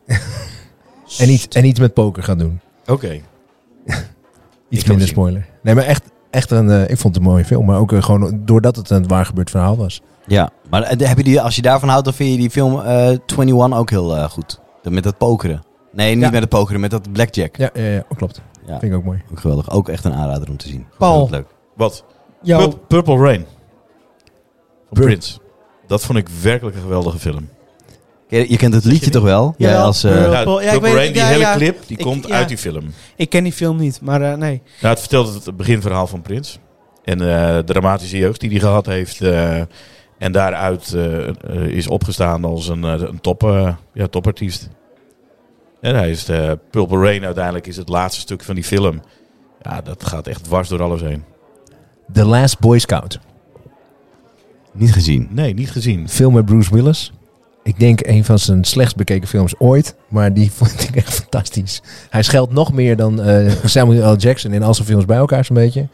S3: en, iets, en iets met poker gaat doen.
S4: Oké.
S3: Iets
S4: Ik wil
S3: minder
S4: het zien.
S3: spoiler. Nee, maar echt, echt een, eh, ik vond het een mooie film. Maar ook eh, gewoon doordat het een waar gebeurd verhaal was.
S2: Ja, maar eh, heb je die, als je daarvan houdt, dan vind je die film eh 21 ook heel eh, goed. Met dat pokeren. Nee, niet
S3: Ja.
S2: met het pokeren, met dat blackjack.
S3: Ja, ja, ja Oh, klopt.
S2: Ja.
S3: Vind ik ook mooi.
S2: Ook geweldig. Ook echt een aanrader om te zien.
S3: Paul.
S2: Heel Leuk.
S4: Wat?
S3: Jouw
S4: Pur- Purple Rain. Van
S3: Pur-
S4: Prince. Dat vond ik werkelijk een geweldige film.
S2: Je, je kent het liedje toch wel? Ja,
S6: Jawel.
S2: als, eh,
S6: Ja.
S4: Ja,
S6: Purple-
S4: Nou, Purple
S6: ja, ik weet
S4: Rain,
S6: het,
S4: die
S6: ja,
S4: hele
S6: ja.
S4: clip, die
S6: Ik-
S4: komt
S6: ja.
S4: uit die film.
S6: Ik ken die film niet, maar eh, nee.
S4: Nou, het vertelt het- het beginverhaal van Prins. En eh, de dramatische jeugd die hij gehad heeft. eh, en daaruit eh, eh, is opgestaan als een, eh, een top, eh, ja, topartiest. En hij is de Purple Rain uiteindelijk is het laatste stuk van die film. Ja, dat gaat echt dwars door alles heen.
S3: The Last Boy Scout.
S2: niet gezien.
S4: Nee, niet gezien.
S3: Film met Bruce Willis. Ik denk een van zijn slechtst bekeken films ooit. Maar die <laughs> vond ik echt fantastisch. Hij scheldt nog meer dan eh, Samuel L. Jackson in al zijn films bij elkaar zo'n beetje.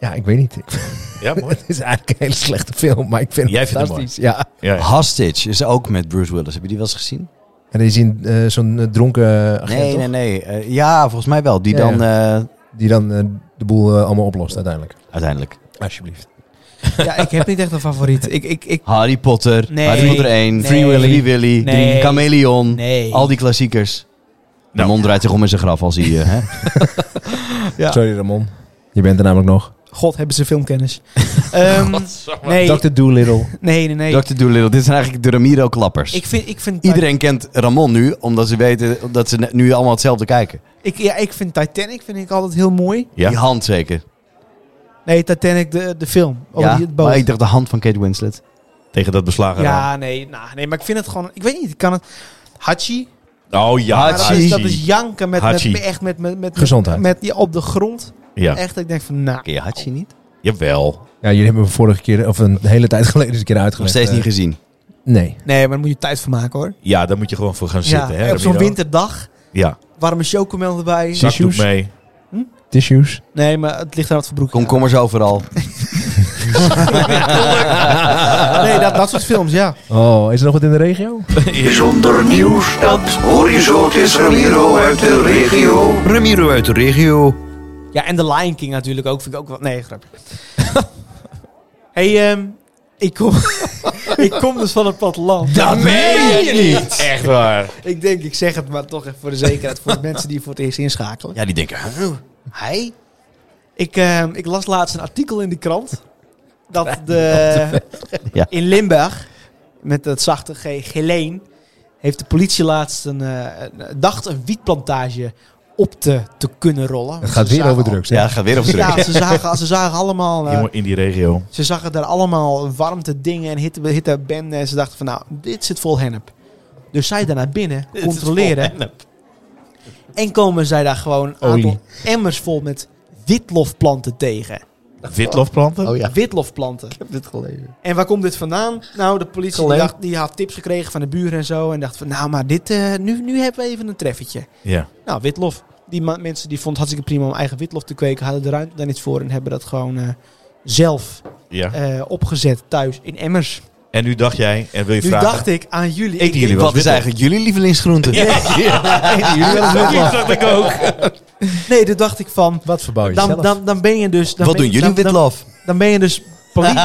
S3: Ja, ik weet niet. <laughs> Ik-
S4: Ja, mooi.
S3: Het is eigenlijk een hele slechte film, maar ik vind
S4: Jij
S3: het
S4: vindt hem
S3: fantastisch. ja.
S4: Ja,
S2: Hostage is ook met Bruce Willis. Heb je die wel eens gezien?
S3: En er is in eh, zo'n eh, dronken agent,
S2: nee,
S3: toch?
S2: nee, nee. Eh, ja, volgens mij wel. Die
S3: Ja,
S2: dan eh,
S3: Die dan eh, de boel eh, allemaal oplost uiteindelijk.
S2: uiteindelijk.
S3: Alsjeblieft.
S6: Ja, ik heb niet echt een favoriet. Ik, ik, ik,
S2: Harry Potter,
S6: Nee.
S2: Harry Potter 1,
S6: Nee.
S2: Free Willy, Free Willy
S6: Nee.
S2: drie, Chameleon,
S6: nee.
S2: al die klassiekers. De
S4: Nou.
S2: mond draait zich om in zijn graf als hij... eh, hè?
S6: Ja.
S3: Sorry Ramon. Je bent er namelijk nog.
S6: God, hebben ze filmkennis. <laughs> Ehm, nee,
S3: Dr. Doolittle.
S6: nee, nee, nee.
S2: Dr. Doolittle, dit zijn eigenlijk de Ramiro-klappers.
S6: Ik vind, ik vind
S2: Iedereen kent Ramon nu, omdat ze weten dat ze nu allemaal hetzelfde kijken.
S6: Ik, ja, ik vind Titanic vind ik altijd heel mooi.
S4: Ja.
S2: Die hand zeker.
S6: Nee, Titanic, de, de film. Over
S2: ja,
S6: Oh, die, het boot.
S2: maar ik dacht de hand van Kate Winslet.
S4: tegen dat beslagen raam.
S6: ja, nee, nou, nee, maar ik vind het gewoon... Ik weet niet, ik kan het... Hachi.
S4: Oh ja,
S6: maar Dat, is, dat
S4: Hachi.
S6: is janken met, met,
S4: Hachi.
S6: met- echt met, met, met,
S3: Gezondheid.
S6: met die op de grond.
S4: Ja,
S6: Echt, ik denk van, nou...
S2: Ken je Hachi niet?
S4: jawel.
S3: Ja, jullie hebben me vorige keer, of een hele tijd <laughs> geleden eens een keer
S2: Nog
S3: uitgelegd.
S2: steeds niet
S3: Eh,
S2: gezien.
S3: Nee.
S6: Nee, maar daar moet je tijd voor maken, hoor.
S4: Ja, daar moet je gewoon voor gaan zitten.
S6: ja,
S4: hè,
S6: op zo'n
S4: Ramiro?
S6: winterdag.
S4: Ja,
S6: Warme chocomel erbij.
S4: zakdoek mee.
S3: Tissues.
S6: Nee, maar het ligt aan het verbroek.
S2: Komkommers overal.
S6: Nee, dat, dat soort films, ja.
S3: Oh, is er nog wat in de regio?
S8: Bijzonder nieuws, dat hoor je zo. Het is Ramiro uit de regio. Ramiro uit de regio.
S6: Ja, en The Lion King natuurlijk ook. Vind ik ook wel... Nee, <laughs> grapje. hey, ehm, ik, kom, <laughs> ik kom dus van het platteland.
S4: Dat meen je niet! Echt waar.
S6: Ik denk, ik zeg het maar toch even voor de zekerheid. Voor de mensen die voor het eerst inschakelen.
S2: Ja, die denken... huh?
S6: Hij? Ik, ehm, ik las laatst een artikel in de krant. <laughs> Dat de,
S2: Ja.
S6: in Limburg, met het zachte G, Geleen, heeft de politie laatst een, eh, een- dacht een wietplantage op te, te kunnen rollen.
S3: Het gaat weer over
S2: <laughs>
S3: drugs.
S2: Ja,
S3: Ja.
S2: dat gaat weer op terug.
S6: Ja, ze zagen, ze zagen allemaal... eh,
S4: Jongen, in die regio.
S6: ze zagen daar allemaal warmte dingen en hitte, hitte benden. En ze dachten van nou, dit zit vol hennep. Dus zij daar naar binnen, controleren. En komen zij daar gewoon een aantal emmers vol met witlofplanten tegen.
S4: Witlofplanten?
S2: Oh ja.
S6: Witlofplanten.
S2: heb dit gelezen.
S6: En waar komt dit vandaan? Nou, de politie die, dacht, die had tips gekregen van de buren en zo. En dacht van nou, maar dit, eh, nu, nu hebben we even een treffetje.
S4: Ja.
S6: Nou, witlof. Die ma- mensen die vonden het hartstikke prima om eigen witlof te kweken. Hadden de ruimte daar niet voor en hebben dat gewoon eh, zelf
S4: ja.
S6: eh, opgezet thuis in emmers.
S4: En nu dacht jij, en wil je
S6: Nu
S4: vragen...
S6: dacht ik aan jullie.
S4: Eten jullie wel
S2: Wat
S4: eens
S2: is
S4: witloof?
S2: eigenlijk jullie lievelingsgroente?
S4: Ja, dat dacht ik ook.
S6: Nee, toen dacht ik van.
S3: Wat verbouw je
S6: Dan,
S3: zelf?
S6: dan, dan ben je dus. Dan
S2: Wat
S6: ben
S2: doen
S6: je-
S2: jullie
S6: dan, dan,
S2: witlof?
S6: dan ben je dus. Politie.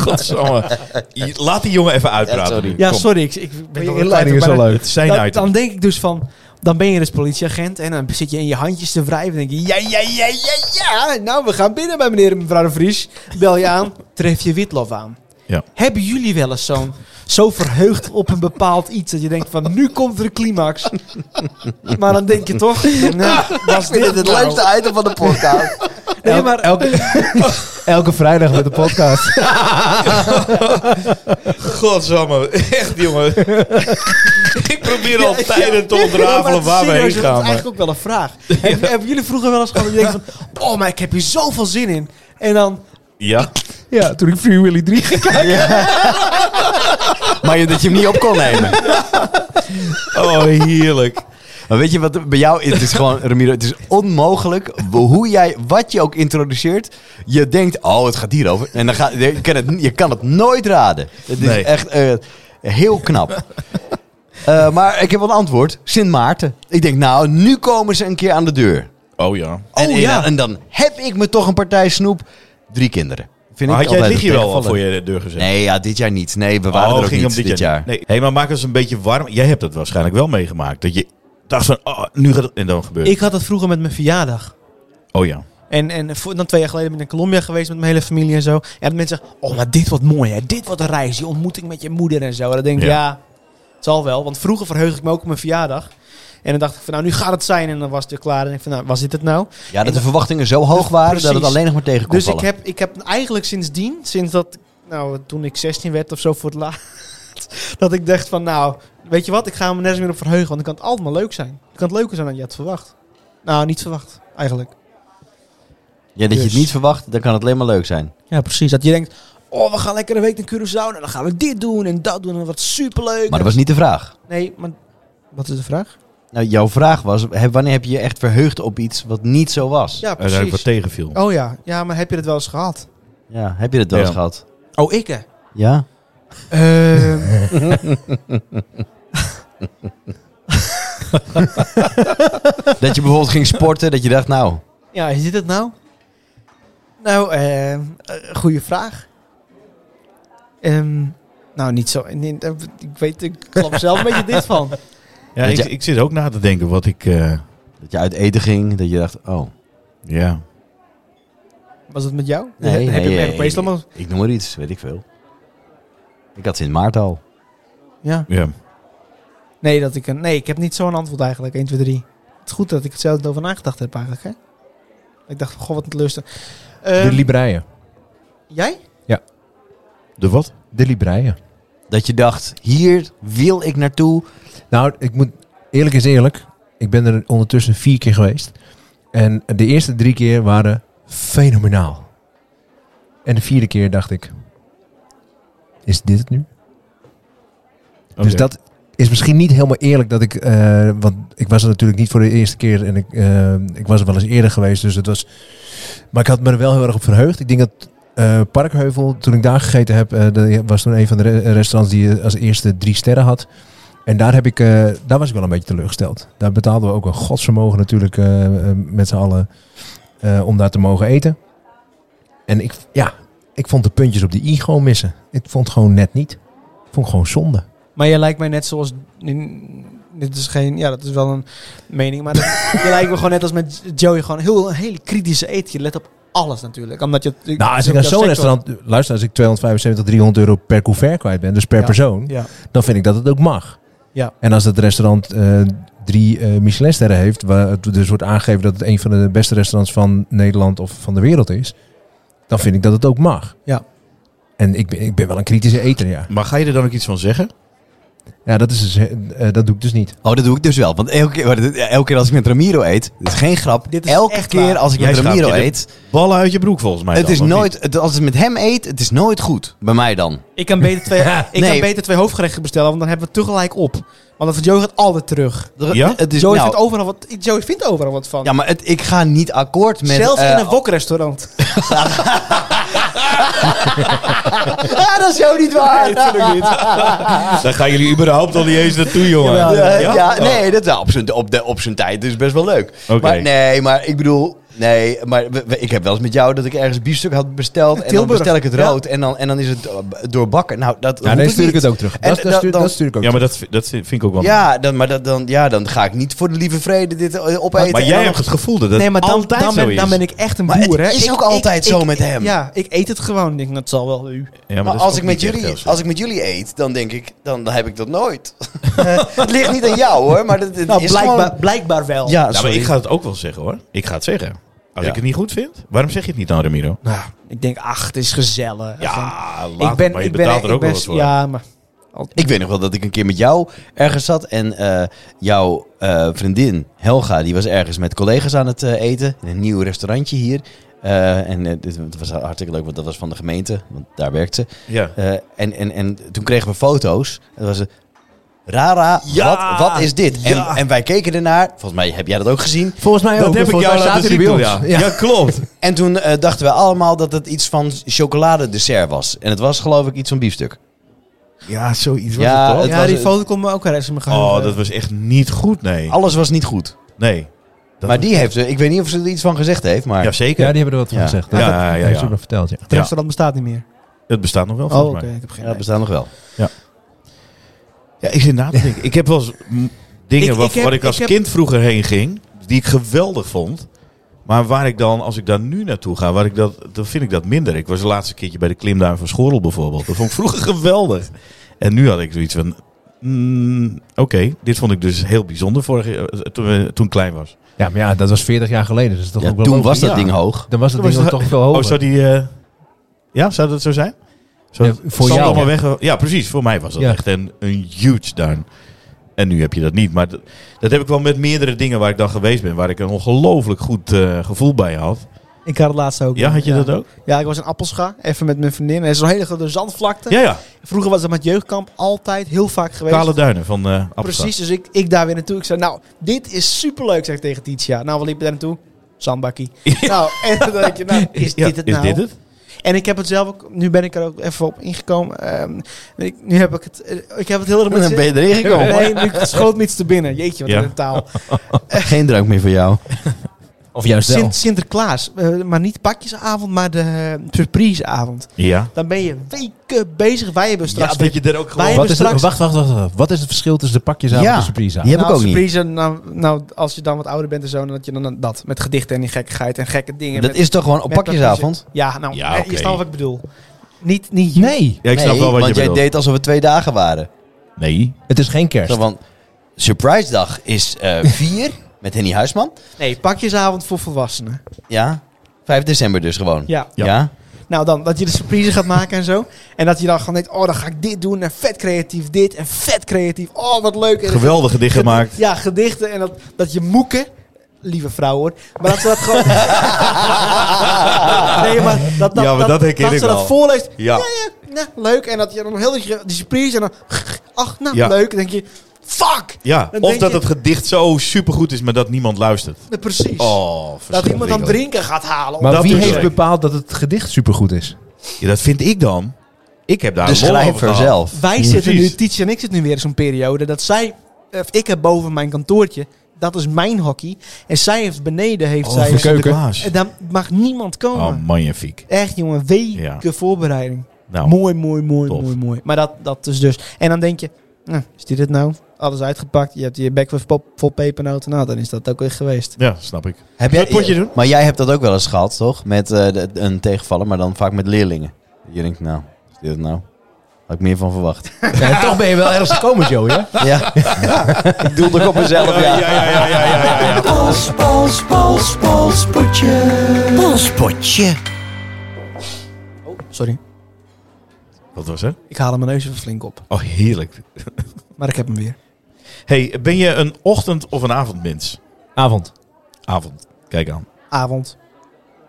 S4: Godsamme. Je- Laat die jongen even uitpraten.
S2: sorry.
S4: nu.
S6: ja,
S4: Kom.
S6: sorry. Ik, ik ben
S3: je
S6: door
S3: inleiding is
S6: de tijd op,
S3: zo
S6: maar
S3: leuk.
S4: Het zijn
S6: dan-
S4: uit.
S6: Dan denk ik dus van. Dan ben je dus politieagent en dan zit je in je handjes te wrijven. En denk je, ja, ja, ja, ja, ja. Nou, we gaan binnen bij meneer en mevrouw de Vries. Bel je
S4: <laughs>
S6: aan, tref je Witlof aan.
S4: Ja.
S6: Hebben jullie wel eens zo'n, zo verheugd op een bepaald iets dat je denkt van, nu komt er een
S4: <laughs>
S6: climax. Maar dan denk je toch, nou, was dit het nou?
S2: item van de podcast.
S6: <laughs> Nee, maar
S3: elke, elke vrijdag met de podcast.
S4: Godsamme. Echt,
S6: <laughs>
S4: jongen. <laughs> ik probeer al tijden te
S6: Ja, maar
S4: ontrafelen waar we
S6: serieus,
S4: heen
S6: Dat
S4: gaan.
S6: is
S4: maar-
S6: eigenlijk ook wel een
S4: <laughs>
S6: vraag. Hebben, hebben jullie vroeger wel eens gehad dat je denkt van... Oh, maar ik heb hier zoveel zin in. En dan...
S4: Ja.
S3: ja, toen ik Free Willy 3 ging kijken.
S2: Maar je- dat je hem niet op kon nemen.
S4: <laughs> Oh, heerlijk.
S2: Maar weet je wat bij jou het is gewoon Ramiro, het is onmogelijk hoe jij wat je ook introduceert. Je denkt oh het gaat hierover en dan gaat je kan het je kan het nooit raden. Het is
S4: Nee.
S2: echt eh, heel knap. Eh, maar ik heb wel een antwoord. Sint Maarten. Ik denk, nou, nu komen ze een keer aan de deur.
S4: Oh ja.
S2: En,
S6: Oh,
S2: en-
S6: ja.
S2: en dan heb ik me toch een partij snoep. Drie kinderen. vind
S4: Maar
S2: ik
S4: had jij
S2: altijd
S4: het liedje wel al
S2: tegenvaller.
S4: voor je deur gezet?
S2: Nee, ja, dit jaar niet. Nee, we waren
S4: Oh,
S2: er ook
S4: ging
S2: niet
S4: om
S2: dit jaar.
S4: Nee. Hey, maar maak ons een beetje warm. Jij hebt dat waarschijnlijk wel meegemaakt. Dat je dacht van, oh, nu gaat het... En dan gebeurt het.
S6: Ik had dat vroeger met mijn verjaardag.
S4: Oh ja.
S6: En, en voor- dan twee jaar geleden ben ik naar Colombia geweest met mijn hele familie en zo. En dat mensen zeggen, oh, maar dit wordt mooi hè. Dit wordt een reis. Die ontmoeting met je moeder en zo. En dan denk ik,
S4: Ja.
S6: ja. het zal wel. Want vroeger verheug ik me ook op mijn verjaardag. En dan dacht ik van, nou, nu gaat het zijn. En dan was het weer klaar. En ik van, nou, was dit het nou?
S2: Ja, dat de verwachtingen zo hoog waren dat het
S6: Precies.
S2: alleen nog maar tegen kon
S6: Dus ik
S2: vallen.
S6: heb, ik heb eigenlijk sindsdien, sinds dat, nou, toen ik 16 werd of zo voor het <laughs> laatst, dat ik dacht van, nou, weet je wat, ik ga me nergens meer op verheugen, want dan kan het altijd maar leuk zijn. Dan kan het leuker zijn dan je had verwacht. Nou, niet verwacht, eigenlijk.
S2: Ja, dat je het
S6: dus-
S2: niet verwacht, dan kan het alleen maar leuk zijn.
S6: Ja, precies. Dat je denkt, oh, we gaan lekker een week naar Curaçao, en dan gaan we dit doen en dat doen, en wat superleuk.
S2: Maar dat was niet de vraag.
S6: Nee, maar wat is de vraag?
S2: Nou, jouw vraag was, hè, wanneer heb je je echt verheugd op iets wat niet zo was?
S6: Ja,
S4: Uiteindelijk wat
S6: precies.
S4: tegenviel.
S6: Oh ja, ja, maar heb je dat wel eens gehad?
S2: Ja, heb je dat wel eens
S4: Ja.
S2: gehad?
S6: Oh, ik hè? <laughs>
S2: Ja? <laughs>
S6: Ehm.
S2: Dat je bijvoorbeeld ging sporten, dat je dacht, nou...
S6: Ja, is dit het nou? Nou, eh, eh, goede vraag. Ehm, nou, niet zo. nee, eh, ik weet, ik klap zelf een beetje dit <laughs> van.
S4: Ja,
S2: Dat
S4: ik,
S2: je-
S4: ik zit ook na te denken wat ik... eh,
S2: Dat je uit eten ging, dat je dacht, oh...
S4: ja,
S6: Was het met jou?
S2: Nee,
S6: Heb
S2: nee,
S6: je- heb je
S2: nee,
S6: hem opeens allemaal?
S2: Ik noem maar iets, weet ik veel. Ik had Sint Maarten al.
S6: Ja.
S4: ja.
S6: Nee, dat ik een, nee, ik heb niet zo'n antwoord eigenlijk. 1, 2, 3. Het is goed dat ik het zelf over nagedacht heb eigenlijk. Hè? Ik dacht, goh, wat een lusten.
S3: de Libreien.
S6: jij?
S4: De wat?
S3: De Libreien.
S2: Dat je dacht, hier wil ik naartoe.
S3: Nou, ik moet eerlijk is eerlijk. Ik ben er ondertussen vier keer geweest. En de eerste drie keer waren fenomenaal. En de vierde keer dacht ik: Is dit het nu?
S4: Oké.
S3: Dus dat is misschien niet helemaal eerlijk dat ik. eh, want ik was er natuurlijk niet voor de eerste keer. En ik, eh, ik was er wel eens eerder geweest. Dus het was. Maar ik had me er wel heel erg op verheugd. Ik denk dat. eh, Parkheuvel, toen ik daar gegeten heb, eh, dat was toen een van de re- restaurants die eh, als eerste drie sterren had. En daar, heb ik, eh, daar was ik wel een beetje teleurgesteld. Daar betaalden we ook een godsvermogen natuurlijk eh, eh, met z'n allen eh, om daar te mogen eten. En ik, ja, ik vond de puntjes op de i gewoon missen. Ik vond het gewoon net niet. Ik vond het gewoon zonde.
S6: Maar je lijkt mij net zoals. in- dit is geen. Ja, dat is wel een mening. Maar dat- <laughs> je lijkt me gewoon net als met Joey. Gewoon heel, een hele kritische eet. Je let op alles natuurlijk. Omdat je. dus
S3: Nou, als ik naar zo'n restaurant... Luister, als ik 275, 300 euro per couvert kwijt ben, dus per
S6: Ja.
S3: persoon,
S6: Ja.
S3: dan vind ik dat het ook mag.
S6: Ja.
S3: En als het restaurant eh, drie eh Michelinsterren heeft, waar het dus wordt aangegeven dat het een van de beste restaurants van Nederland of van de wereld is, dan vind ik dat het ook mag.
S6: Ja.
S3: En ik ben, ik ben wel een kritische eter, ja.
S4: Maar ga je er dan ook iets van zeggen?
S3: Ja, dat, is dus, eh, eh, dat doe ik dus niet.
S2: Oh, dat doe ik dus wel. Want elke keer, elke keer als ik met Ramiro eet, dit is geen grap.
S6: Dit is
S2: elke
S6: echt
S2: keer
S6: waar.
S2: als ik
S4: Jij
S2: met Ramiro
S4: schaamt je
S2: eet,
S4: Ballen uit je broek volgens mij.
S2: het
S4: dan,
S2: is
S4: of niet?
S2: nooit, het- als ik met hem eet, het is nooit goed. Bij mij dan.
S6: Ik kan beter
S2: <laughs>
S6: twee, ik
S2: Nee.
S6: kan beter twee hoofdgerechten bestellen. Want dan hebben we het tegelijk op. Want dat van Joey gaat altijd terug.
S4: Ja?
S2: Het is,
S6: Joey,
S2: nou,
S6: vindt overal wat, Joey vindt overal wat van.
S2: ja, maar het, ik ga niet akkoord met...
S6: Zelfs
S2: eh, <laughs>
S6: in een wokrestaurant.
S2: Ah,
S6: ja, dat is jou niet waar.
S4: Daar gaan jullie überhaupt al niet eens naartoe, jongen.
S6: Jawel,
S2: Eh,
S4: Ja? Oh.
S2: ja? nee, dat wel. Op zijn, op, de, op zijn tijd is best wel leuk.
S4: Oké.
S2: Maar nee, maar ik bedoel... Nee, maar we- we- ik heb wel eens met jou dat ik ergens biefstuk had besteld. En dan
S6: Tilburg.
S2: bestel ik het
S6: Ja.
S2: rood. En, dan, en dan is het eh, doorbakken. Nou, dat
S3: Ja,
S2: hoef
S3: nee, stuur ik
S2: niet.
S3: het ook terug.
S2: En
S3: Dat, dat,
S2: dan-
S3: stuur,
S2: dan-
S3: dat stuur ik ook
S4: Ja, maar dat, dat vind ik ook wel.
S2: Ja, dan, maar dat, dan, ja, dan ga ik niet voor de lieve vrede dit eh, opeten.
S4: maar
S2: En
S4: jij
S2: dan-
S4: hebt het gevoel dat het
S6: nee, maar dan,
S4: altijd
S6: dan,
S4: zo
S6: ben,
S4: is.
S6: dan ben ik echt een
S2: Maar het
S6: boer, hè.
S2: is
S6: Ik-
S2: ook
S6: ik-
S2: altijd zo
S6: ik-
S2: met
S6: ik-
S2: hem.
S6: Ja, ik eet het gewoon. Ik denk, dat zal wel u.
S4: Ja, maar
S2: Maar
S4: dat is
S2: als
S4: ook
S2: ik met
S4: niet echt
S2: jullie,
S4: heel zo.
S2: als ik met jullie eet, dan denk ik, dan, dan heb ik dat <laughs> nooit. het ligt niet aan jou hoor, maar dat, het
S6: Nou,
S2: is
S6: blijkbaar,
S2: gewoon...
S6: blijkbaar wel.
S2: Ja,
S4: Nou,
S2: sorry.
S4: maar ik ga het ook wel zeggen, hoor. Ik ga het zeggen. Als
S2: Ja.
S4: ik het niet goed vind, waarom zeg je het niet dan, Ramiro?
S6: Nou, ik denk, ach, het is gezellig.
S4: Ja, laat
S6: Gewoon-
S4: het, maar je betaalt er
S6: ik
S4: ook
S6: ben-
S4: wel eens voor.
S6: Ja, maar
S2: Ik weet nog wel dat ik een keer met jou ergens zat en eh, jouw eh, vriendin Helga, die was ergens met collega's aan het eh, eten in een nieuw restaurantje hier. Eh, en eh, dit het was hartstikke leuk, want dat was van de gemeente, want daar werkt ze.
S4: Ja.
S2: Eh, en, en, en toen kregen we foto's. En dat was een, Rara,
S4: Ja!
S2: wat, wat is dit?
S4: Ja!
S2: En, en wij keken ernaar. Volgens mij heb jij dat ook gezien.
S3: Volgens mij
S4: Dat heb ik jou laten zien,
S3: bij
S4: toen,
S3: ons.
S4: ja.
S3: Ja.
S4: Ja, <laughs> klopt.
S2: En toen eh, dachten we allemaal dat het iets van chocoladedessert was. En het was geloof ik iets van biefstuk.
S4: Ja, zoiets was
S2: Ja,
S4: het toch?
S2: het
S6: ja,
S2: was-
S6: die foto komt me ook ergens in mijn geheugen.
S4: Oh, dat was echt niet goed, nee.
S2: Alles was niet goed.
S4: Nee. Dat dat
S2: Maar die heeft, eh, ik weet niet of ze er iets van gezegd heeft, maar...
S4: Ja, zeker.
S3: Ja, die hebben er wat van
S2: Ja.
S3: gezegd.
S4: Ja,
S3: Dat-
S4: ja,
S3: dat
S4: ja,
S3: heeft
S4: ja.
S3: ze ook nog verteld, ja.
S6: Het restaurant bestaat niet meer.
S4: Het bestaat nog wel,
S6: Oh, oké.
S4: volgens mij.
S6: Ik heb geen
S2: Ja, dat
S6: idee.
S2: bestaat nog wel.
S4: Ja, ik zit na te denken. Ik heb wel eens m, dingen
S6: Ik-
S4: waar,
S6: ik heb-
S4: waar ik als
S6: ik heb-
S4: kind vroeger heen ging, die ik geweldig vond. Maar waar ik dan, als ik daar nu naartoe ga, waar ik dat, dan vind ik dat minder. Ik was de laatste keertje bij de klimduin van Schorrel bijvoorbeeld. Dat vond ik vroeger <laughs> geweldig. En nu had ik zoiets van, mm, oké, dit vond ik dus heel bijzonder vorige, eh, toen, we- toen ik klein was.
S3: Ja, maar ja, dat was 40 jaar geleden. Dus dat is toch
S2: Ja,
S3: ook wel
S2: toen
S3: logisch.
S2: was dat
S4: ja.
S2: ding
S3: <laughs>
S2: hoog.
S3: Dan was dat
S4: Toen
S3: ding
S4: was
S3: toch
S4: dat-
S3: veel
S4: Oh, zou
S3: hoger.
S4: die... eh, ja, zou dat zo zijn? Zou
S3: Ja,
S4: het
S3: voor
S4: zand
S3: jou.
S4: allemaal weg, ja, precies. Voor mij was dat
S3: Ja.
S4: echt een, een huge down. En nu heb je dat niet. Maar dat, dat heb ik wel met meerdere dingen waar ik dan geweest ben. Waar ik een ongelooflijk goed eh, gevoel bij had.
S6: Ik had het laatst ook.
S4: Ja, had je dat ook?
S6: Ja, ik was in Appelscha. Even met mijn vriendin. Er is zo'n hele grote zandvlakte.
S4: Ja, ja.
S6: Vroeger was dat met jeugdkamp altijd heel vaak geweest.
S4: Kale duinen van eh Appelstad.
S6: Precies, dus ik, ik daar weer naartoe. Ik zei, nou, dit is superleuk, zeg ik tegen Titia. Nou, we liepen daar naartoe. Zandbakkie. nou, en dan denk je, nou, is
S4: <laughs> Ja,
S6: dit het nou?
S4: Is dit het?
S6: En ik heb het zelf ook, nu ben ik er ook even op ingekomen. Ehm, ik, nu heb ik het, eh, ik heb het heel erg
S2: Dan ben je erin gekomen.
S6: Nee, nu schoot me iets te binnen. Jeetje, wat
S4: Ja.
S6: een
S2: <laughs>
S6: taal.
S2: Geen drank meer voor jou.
S3: Of juist wel.
S6: Sint, Sinterklaas, eh, maar niet pakjesavond, maar de eh, surpriseavond.
S4: Ja.
S6: Dan ben je weken bezig. Wij hebben straks...
S4: Ja, dat je er ook gewoon...
S6: Wij
S3: Wat
S6: hebben
S3: is het,
S6: straks...
S3: wacht, wacht, wacht, wacht. Wat is het verschil tussen de pakjesavond
S2: Ja.
S3: en de surpriseavond?
S2: Die heb ik
S6: nou,
S2: ook niet.
S6: surprise, nou, nou, als je dan wat ouder bent en zo, dan dat je dan dat. Met gedichten en die gekkigheid en gekke dingen.
S2: Dat
S6: met-
S2: is oh, toch gewoon op
S6: met
S2: pakjesavond?
S6: Ja, nou,
S4: Ja,
S6: eh,
S4: oké.
S6: je snapt wat ik bedoel. Niet, niet hier.
S3: Nee,
S4: Ja, ik snap
S2: Nee,
S4: wel wat
S2: want
S4: je
S2: jij
S4: bedoelt.
S2: deed alsof het twee dagen waren.
S4: Nee.
S3: het is geen kerst.
S2: Zo van, surprise dag is eh, vier met Henny Huisman.
S6: Nee, pakjesavond voor volwassenen.
S2: Ja, 5 december dus gewoon.
S6: Ja.
S2: Ja.
S6: Nou, dan dat je de surprise gaat maken en zo. En dat je dan gewoon denkt, oh, dan ga ik dit doen. En vet creatief dit. En vet creatief. Oh, wat leuk. En
S4: Geweldige dicht gemaakt.
S6: Ja, gedichten. En dat, dat je moeken... Lieve vrouw hoor. Maar dat ze dat gewoon... nee, maar dat, dat,
S4: Ja, maar dat herken
S6: dat
S4: ik
S6: ze dat
S4: wel.
S6: voorleest.
S4: Ja.
S6: Ja, ja, nou, leuk. En dat je dan heel die, die surprise... En dan... <laughs> Ach, nou,
S4: Ja.
S6: leuk. Dan denk je... Fuck!
S4: Ja.
S6: Dan
S4: Of
S6: denk
S4: dat
S6: je-
S4: het gedicht zo supergoed is, maar dat niemand luistert.
S6: Nee, Precies.
S4: Oh,
S6: dat iemand dan
S4: verschrikkelijk.
S6: drinken gaat halen.
S3: maar
S4: dat
S3: wie
S4: dus
S3: heeft
S4: ook.
S3: bepaald dat het gedicht supergoed
S2: <laughs>
S3: is?
S4: Ja, dat vind ik dan. Ik heb daar
S2: De
S4: een lol over
S2: schrijver
S4: gehad.
S2: zelf.
S6: Wij
S4: Precies.
S6: zitten nu, Tietje en ik zitten nu weer in zo'n periode dat zij, of ik heb boven mijn kantoortje, dat is mijn hockey. En zij heeft beneden, heeft zij. Eh,
S3: voor keuken.
S4: Sinterklaas.
S6: En daar mag niemand komen.
S4: Oh, magnifiek.
S6: Echt jongen, weken
S4: Ja.
S6: voorbereiding.
S4: Nou,
S6: mooi, mooi, mooi,
S4: tof.
S6: mooi, mooi. Maar dat, dat is dus. En dan denk je, nou, is dit het nou? Alles uitgepakt, je hebt je bek vol- vol- vol pepernoten. Nou, dan is dat ook weer geweest.
S4: ja, snap ik.
S2: Heb
S4: Zullen we het potje doen?
S2: Maar jij hebt dat ook wel eens gehad, toch? Met eh, de- een tegenvaller, maar dan vaak met leerlingen. Je denkt, nou, is dit het nou? Had ik meer van verwacht.
S3: Ja, en toch ben je wel ergens gekomen, Joey. Hè?
S2: ja. ik doelde ook op mezelf, ja.
S4: ja, ja, ja, ja, ja, ja.
S9: Pols, pols, pols, polspotje. Polspotje.
S6: Sorry,
S4: Wat was het?
S6: ik haal hem mijn neus even flink op.
S4: Oh, heerlijk.
S6: Maar ik heb hem weer.
S4: hey, ben je een ochtend- of een avondmens?
S3: Avond.
S4: Avond. Kijk aan.
S6: Avond.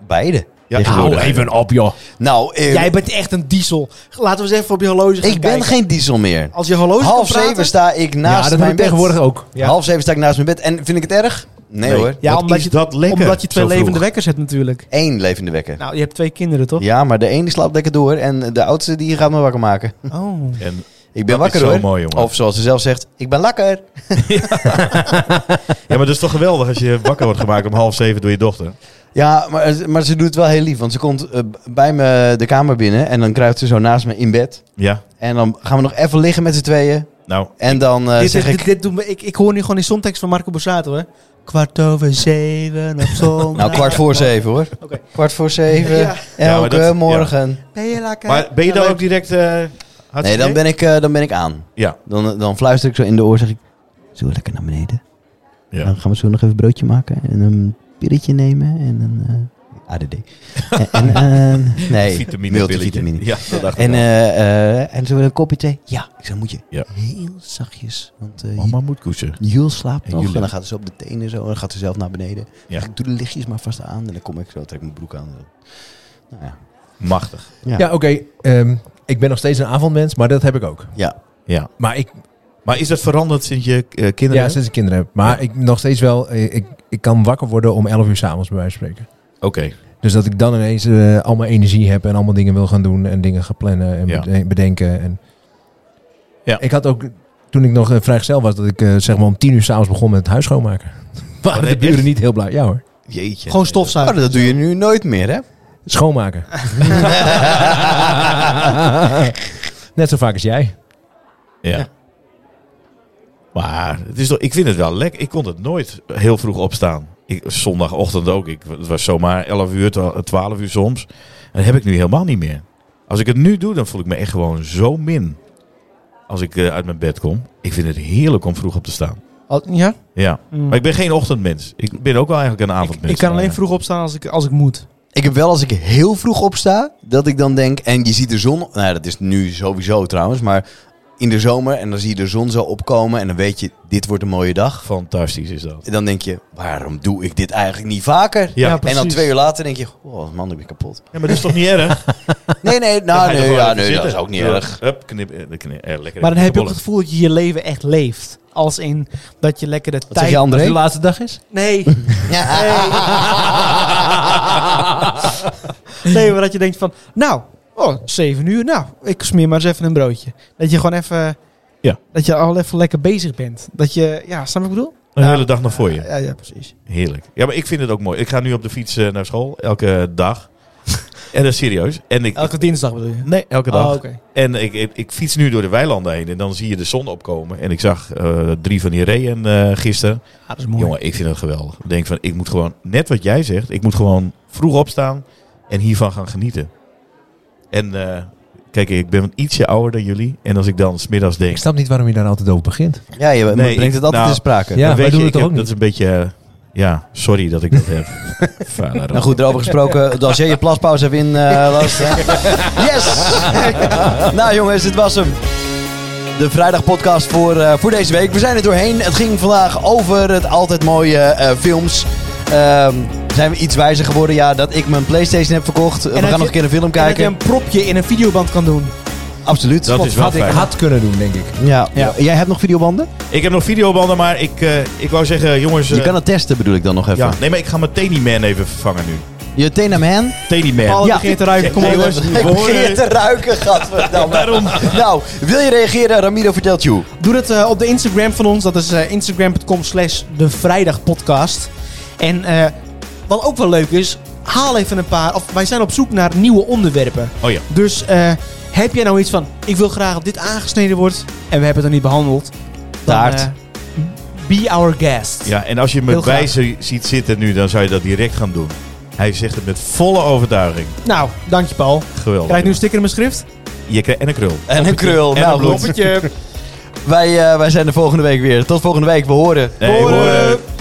S2: Beide.
S4: Ja,
S2: Tegenwoordig.
S4: hou even
S3: op, joh.
S2: Nou, eh,
S6: Jij bent dus echt een diesel. Laten we eens even op je horloge gaan
S2: ik ben
S6: kijken.
S2: geen diesel meer.
S6: Als je horloge Oh, kan
S2: Half
S6: praten-
S2: zeven sta ik naast
S3: ja, dat doe
S2: mijn
S3: ik
S2: bed.
S3: tegenwoordig ook. Ja.
S2: Half zeven sta ik naast mijn bed. En vind ik het erg? Nee,
S4: Nee.
S2: hoor.
S6: Ja,
S4: Wat
S6: omdat
S4: is
S6: je,
S4: dat lekker,
S6: omdat je twee
S4: zo vroeg?
S6: levende wekkers hebt natuurlijk.
S2: Eén levende wekker.
S6: Nou, je hebt twee kinderen, toch?
S2: Ja, maar de ene die slaapt lekker door en de oudste die gaat me wakker maken.
S6: Oh.
S4: En
S2: Ik ben
S4: Dat is
S2: wakker
S4: zo
S2: hoor.
S4: mooi, jongen.
S2: Of zoals ze zelf zegt, ik ben lekker.
S4: Ja, maar dat is toch geweldig als je <laughs> wakker wordt gemaakt om half zeven door je dochter.
S2: Ja, maar, maar ze doet het wel heel lief. Want ze komt eh, bij me de kamer binnen en dan kruipt ze zo naast me in bed.
S4: Ja,
S2: En dan gaan we nog even liggen met z'n tweeën.
S4: nou.
S2: En dan eh,
S6: dit,
S2: zeg
S6: dit,
S2: ik...
S6: dit, dit doet me, ik, ik hoor nu gewoon die somtekst van Marco Borsato, hè? Kwart over zeven op
S2: <laughs>
S6: zondag.
S2: Nou, kwart voor zeven hoor.
S6: <laughs> Oké.
S2: Kwart voor zeven,
S6: Ja.
S4: Ja, maar
S2: elke
S4: dat-
S2: morgen.
S6: Ben je lekker?
S4: Maar ben je
S6: Ja,
S4: dan
S6: leuk.
S4: ook direct... eh
S2: Nee, dan ben, ik, eh, dan ben ik aan.
S4: Ja.
S2: Dan, eh, dan fluister ik zo in de oor, zeg ik... Zullen we lekker naar beneden?
S4: ja.
S2: Dan gaan we zo nog even broodje maken en een pilletje nemen en een... eh,
S4: <laughs>
S2: ADD. en, en, eh, nee,
S4: Vitamine
S2: multivitamine.
S4: Ja, dat dacht ik
S2: En,
S4: al.
S2: eh eh, en zo een kopje thee? Ja, ik zei, moet je
S4: Ja.
S2: heel zachtjes. Want eh
S4: Mama moet koetsen.
S2: Jul slaapt
S4: En
S2: nog.
S4: Jul-
S2: En dan gaat ze op de tenen zo. En dan gaat ze zelf naar beneden.
S4: Ja.
S2: Ik doe de lichtjes maar vast aan. En dan kom ik zo, trek mijn broek aan. Nou ja.
S4: Machtig.
S3: Ja, oké. ehm, ik ben nog steeds een avondmens, maar dat heb ik ook.
S2: Ja.
S4: Ja.
S3: Maar ik,
S4: Maar is dat veranderd sinds je eh, kinderen
S3: ja,
S4: hebt?
S3: sinds ik kinderen heb. Maar ik nog steeds wel, eh, ik, ik kan wakker worden om 11 uur s'avonds, bij wijze van spreken.
S4: Oké.
S3: Dus dat ik dan ineens eh, allemaal energie heb en allemaal dingen wil gaan doen en dingen gaan plannen en
S4: Ja.
S3: bede- eh, bedenken. En
S4: Ja.
S3: Ik had ook, toen ik nog eh, vrijgezel was, dat ik eh, zeg maar om tien uur s'avonds begon met het huis schoonmaken. <laughs> waren de
S4: nee,
S3: buren
S4: echt?
S3: niet heel blij. Ja hoor.
S2: Jeetje.
S6: Gewoon
S2: Oh,
S6: stofzuigen.
S2: dat doe je nu nooit meer, hè?
S4: <laughs>
S3: Schoonmaken. Net zo vaak als jij.
S4: Ja. Maar het is toch, ik vind het wel lekker. Ik kon het nooit heel vroeg opstaan. Ik, zondagochtend ook. Ik, het was zomaar 11 uur, twa- 12 uur soms. En dat heb ik nu helemaal niet meer. Als ik het nu doe, dan voel ik me echt gewoon zo min. Als ik eh, uit mijn bed kom. Ik vind het heerlijk om vroeg op te staan.
S2: Oh,
S6: Al- Ja?
S4: Ja.
S6: Mm.
S4: Maar ik ben geen ochtendmens. Ik ben ook wel eigenlijk een avondmens.
S6: Ik kan alleen
S4: Maar,
S6: vroeg opstaan als ik, als ik moet.
S2: <laughs> Ik heb wel als ik heel vroeg opsta, dat ik dan denk, en je ziet de zon, nou ja, dat is nu sowieso trouwens, maar in de zomer, en dan zie je de zon zo opkomen en dan weet je, dit wordt een mooie dag.
S4: Fantastisch is dat.
S2: En dan denk je, waarom doe ik dit eigenlijk niet vaker?
S4: Ja.
S2: en dan twee uur later denk je, oh man, ik ben kapot.
S4: Ja, maar dat is toch niet erg?
S2: <laughs> Nee, nee,
S4: Dan
S2: nou,
S4: ga je
S2: nee,
S4: er gewoon
S2: ja,
S4: even
S2: nee dat
S4: zitten.
S2: is ook niet
S4: Ja.
S2: <laughs> erg.
S4: Hup, knip, eh, de knip, eh, lekker
S6: Maar dan heb je ook
S4: bollen.
S6: het gevoel dat je je leven echt leeft. Als in dat je lekker de tijd...
S2: zeg je, André?
S3: Als het de laatste dag is?
S6: <laughs> Nee.
S2: <laughs>
S6: nee, maar dat je denkt van... Nou, oh, zeven uur. Nou, ik smeer maar eens even een broodje. Dat je gewoon even...
S4: Ja.
S6: Dat je al even lekker bezig bent. Dat je... Ja, snap je wat ik bedoel?
S4: Een hele dag nog voor je.
S6: Ja, ja, precies.
S4: Heerlijk. Ja, maar ik vind het ook mooi. Ik ga nu op de fiets eh, naar school, elke
S6: <laughs>
S4: dag. en dat is serieus. En ik,
S6: Elke dinsdag bedoel je?
S4: Nee, elke dag.
S6: Oh, oké.
S4: En ik, ik, ik fiets nu door de weilanden heen en dan zie je de zon opkomen. En ik zag eh, drie van die reeën eh, gisteren.
S6: Ja, Ah, dat is mooi.
S4: Jongen, ik vind het geweldig. Ik denk van, ik moet gewoon, net wat jij zegt, ik moet gewoon vroeg opstaan en hiervan gaan genieten. En eh, kijk, ik ben ietsje ouder dan jullie. En als ik dan smiddags denk...
S3: Ik snap niet waarom je daar altijd over begint.
S2: Ja, je
S4: Nee,
S2: brengt
S4: ik-
S2: het altijd
S4: nou,
S2: in sprake.
S3: Ja,
S4: dan
S3: wij
S4: weet
S3: doen
S4: je,
S3: het
S4: ik
S3: ook
S4: heb-
S3: niet.
S4: Dat is een beetje... eh, ja, sorry dat ik dat heb. Vuile
S2: Nou goed, erover <laughs> gesproken. Als jij je plaspauze hebt in, eh, Lars, <laughs> hè? Yes! <laughs> nou jongens, dit was hem. De vrijdagpodcast voor, eh, voor deze week. We zijn er doorheen. Het ging vandaag over het altijd mooie eh, films. Ehm, zijn we iets wijzer geworden? Ja, dat ik mijn PlayStation heb verkocht. we gaan
S6: dat
S2: nog
S6: je-
S2: een keer een film
S6: En dat je
S2: kijken.
S6: een propje in een videoband kan doen.
S2: Absoluut.
S4: Dat is wel
S3: had ik
S4: fijn.
S3: had kunnen doen, denk ik.
S2: Ja. Jij hebt nog videobanden?
S4: Ik heb nog videobanden, maar ik, eh, ik wou zeggen, jongens...
S2: Je
S4: eh,
S2: kan het testen, bedoel ik dan nog even.
S4: ja. Nee, maar ik ga mijn Teddy Man even vervangen nu.
S2: Je Tena Man.
S4: Teddy Man.
S6: Paul
S2: Ja.
S6: begint te ruiken. Kom
S4: Nee,
S6: op.
S4: jongens.
S2: Ik
S4: we horen
S2: begin
S4: het.
S2: te ruiken, gadverdamme.
S4: Daarom.
S2: Nou, wil je reageren? Ramiro vertelt you.
S6: Doe dat eh, op de Instagram van ons. Dat is eh, instagram.com slash de vrijdagpodcast. En eh, wat ook wel leuk is, haal even een paar... Of wij zijn op zoek naar nieuwe onderwerpen.
S4: Oh ja.
S6: Dus eh, heb jij nou iets van... Ik wil graag dat dit aangesneden wordt. En we hebben het er niet behandeld. Dan,
S2: Taart.
S6: eh, be our guest.
S4: ja, en als je me
S6: Heel graag.
S4: bij zi- ziet zitten nu, dan zou je dat direct gaan doen. Hij zegt het met volle overtuiging.
S6: Nou, dank je Paul.
S4: Geweldig.
S6: Krijg je nu een sticker in mijn schrift?
S4: Je krijgt en een krul.
S2: En een krul.
S4: En
S2: nou,
S4: een
S2: goed. Wij, eh, wij zijn er volgende week weer. Tot volgende week. We horen.
S4: <laughs> Nee, horen.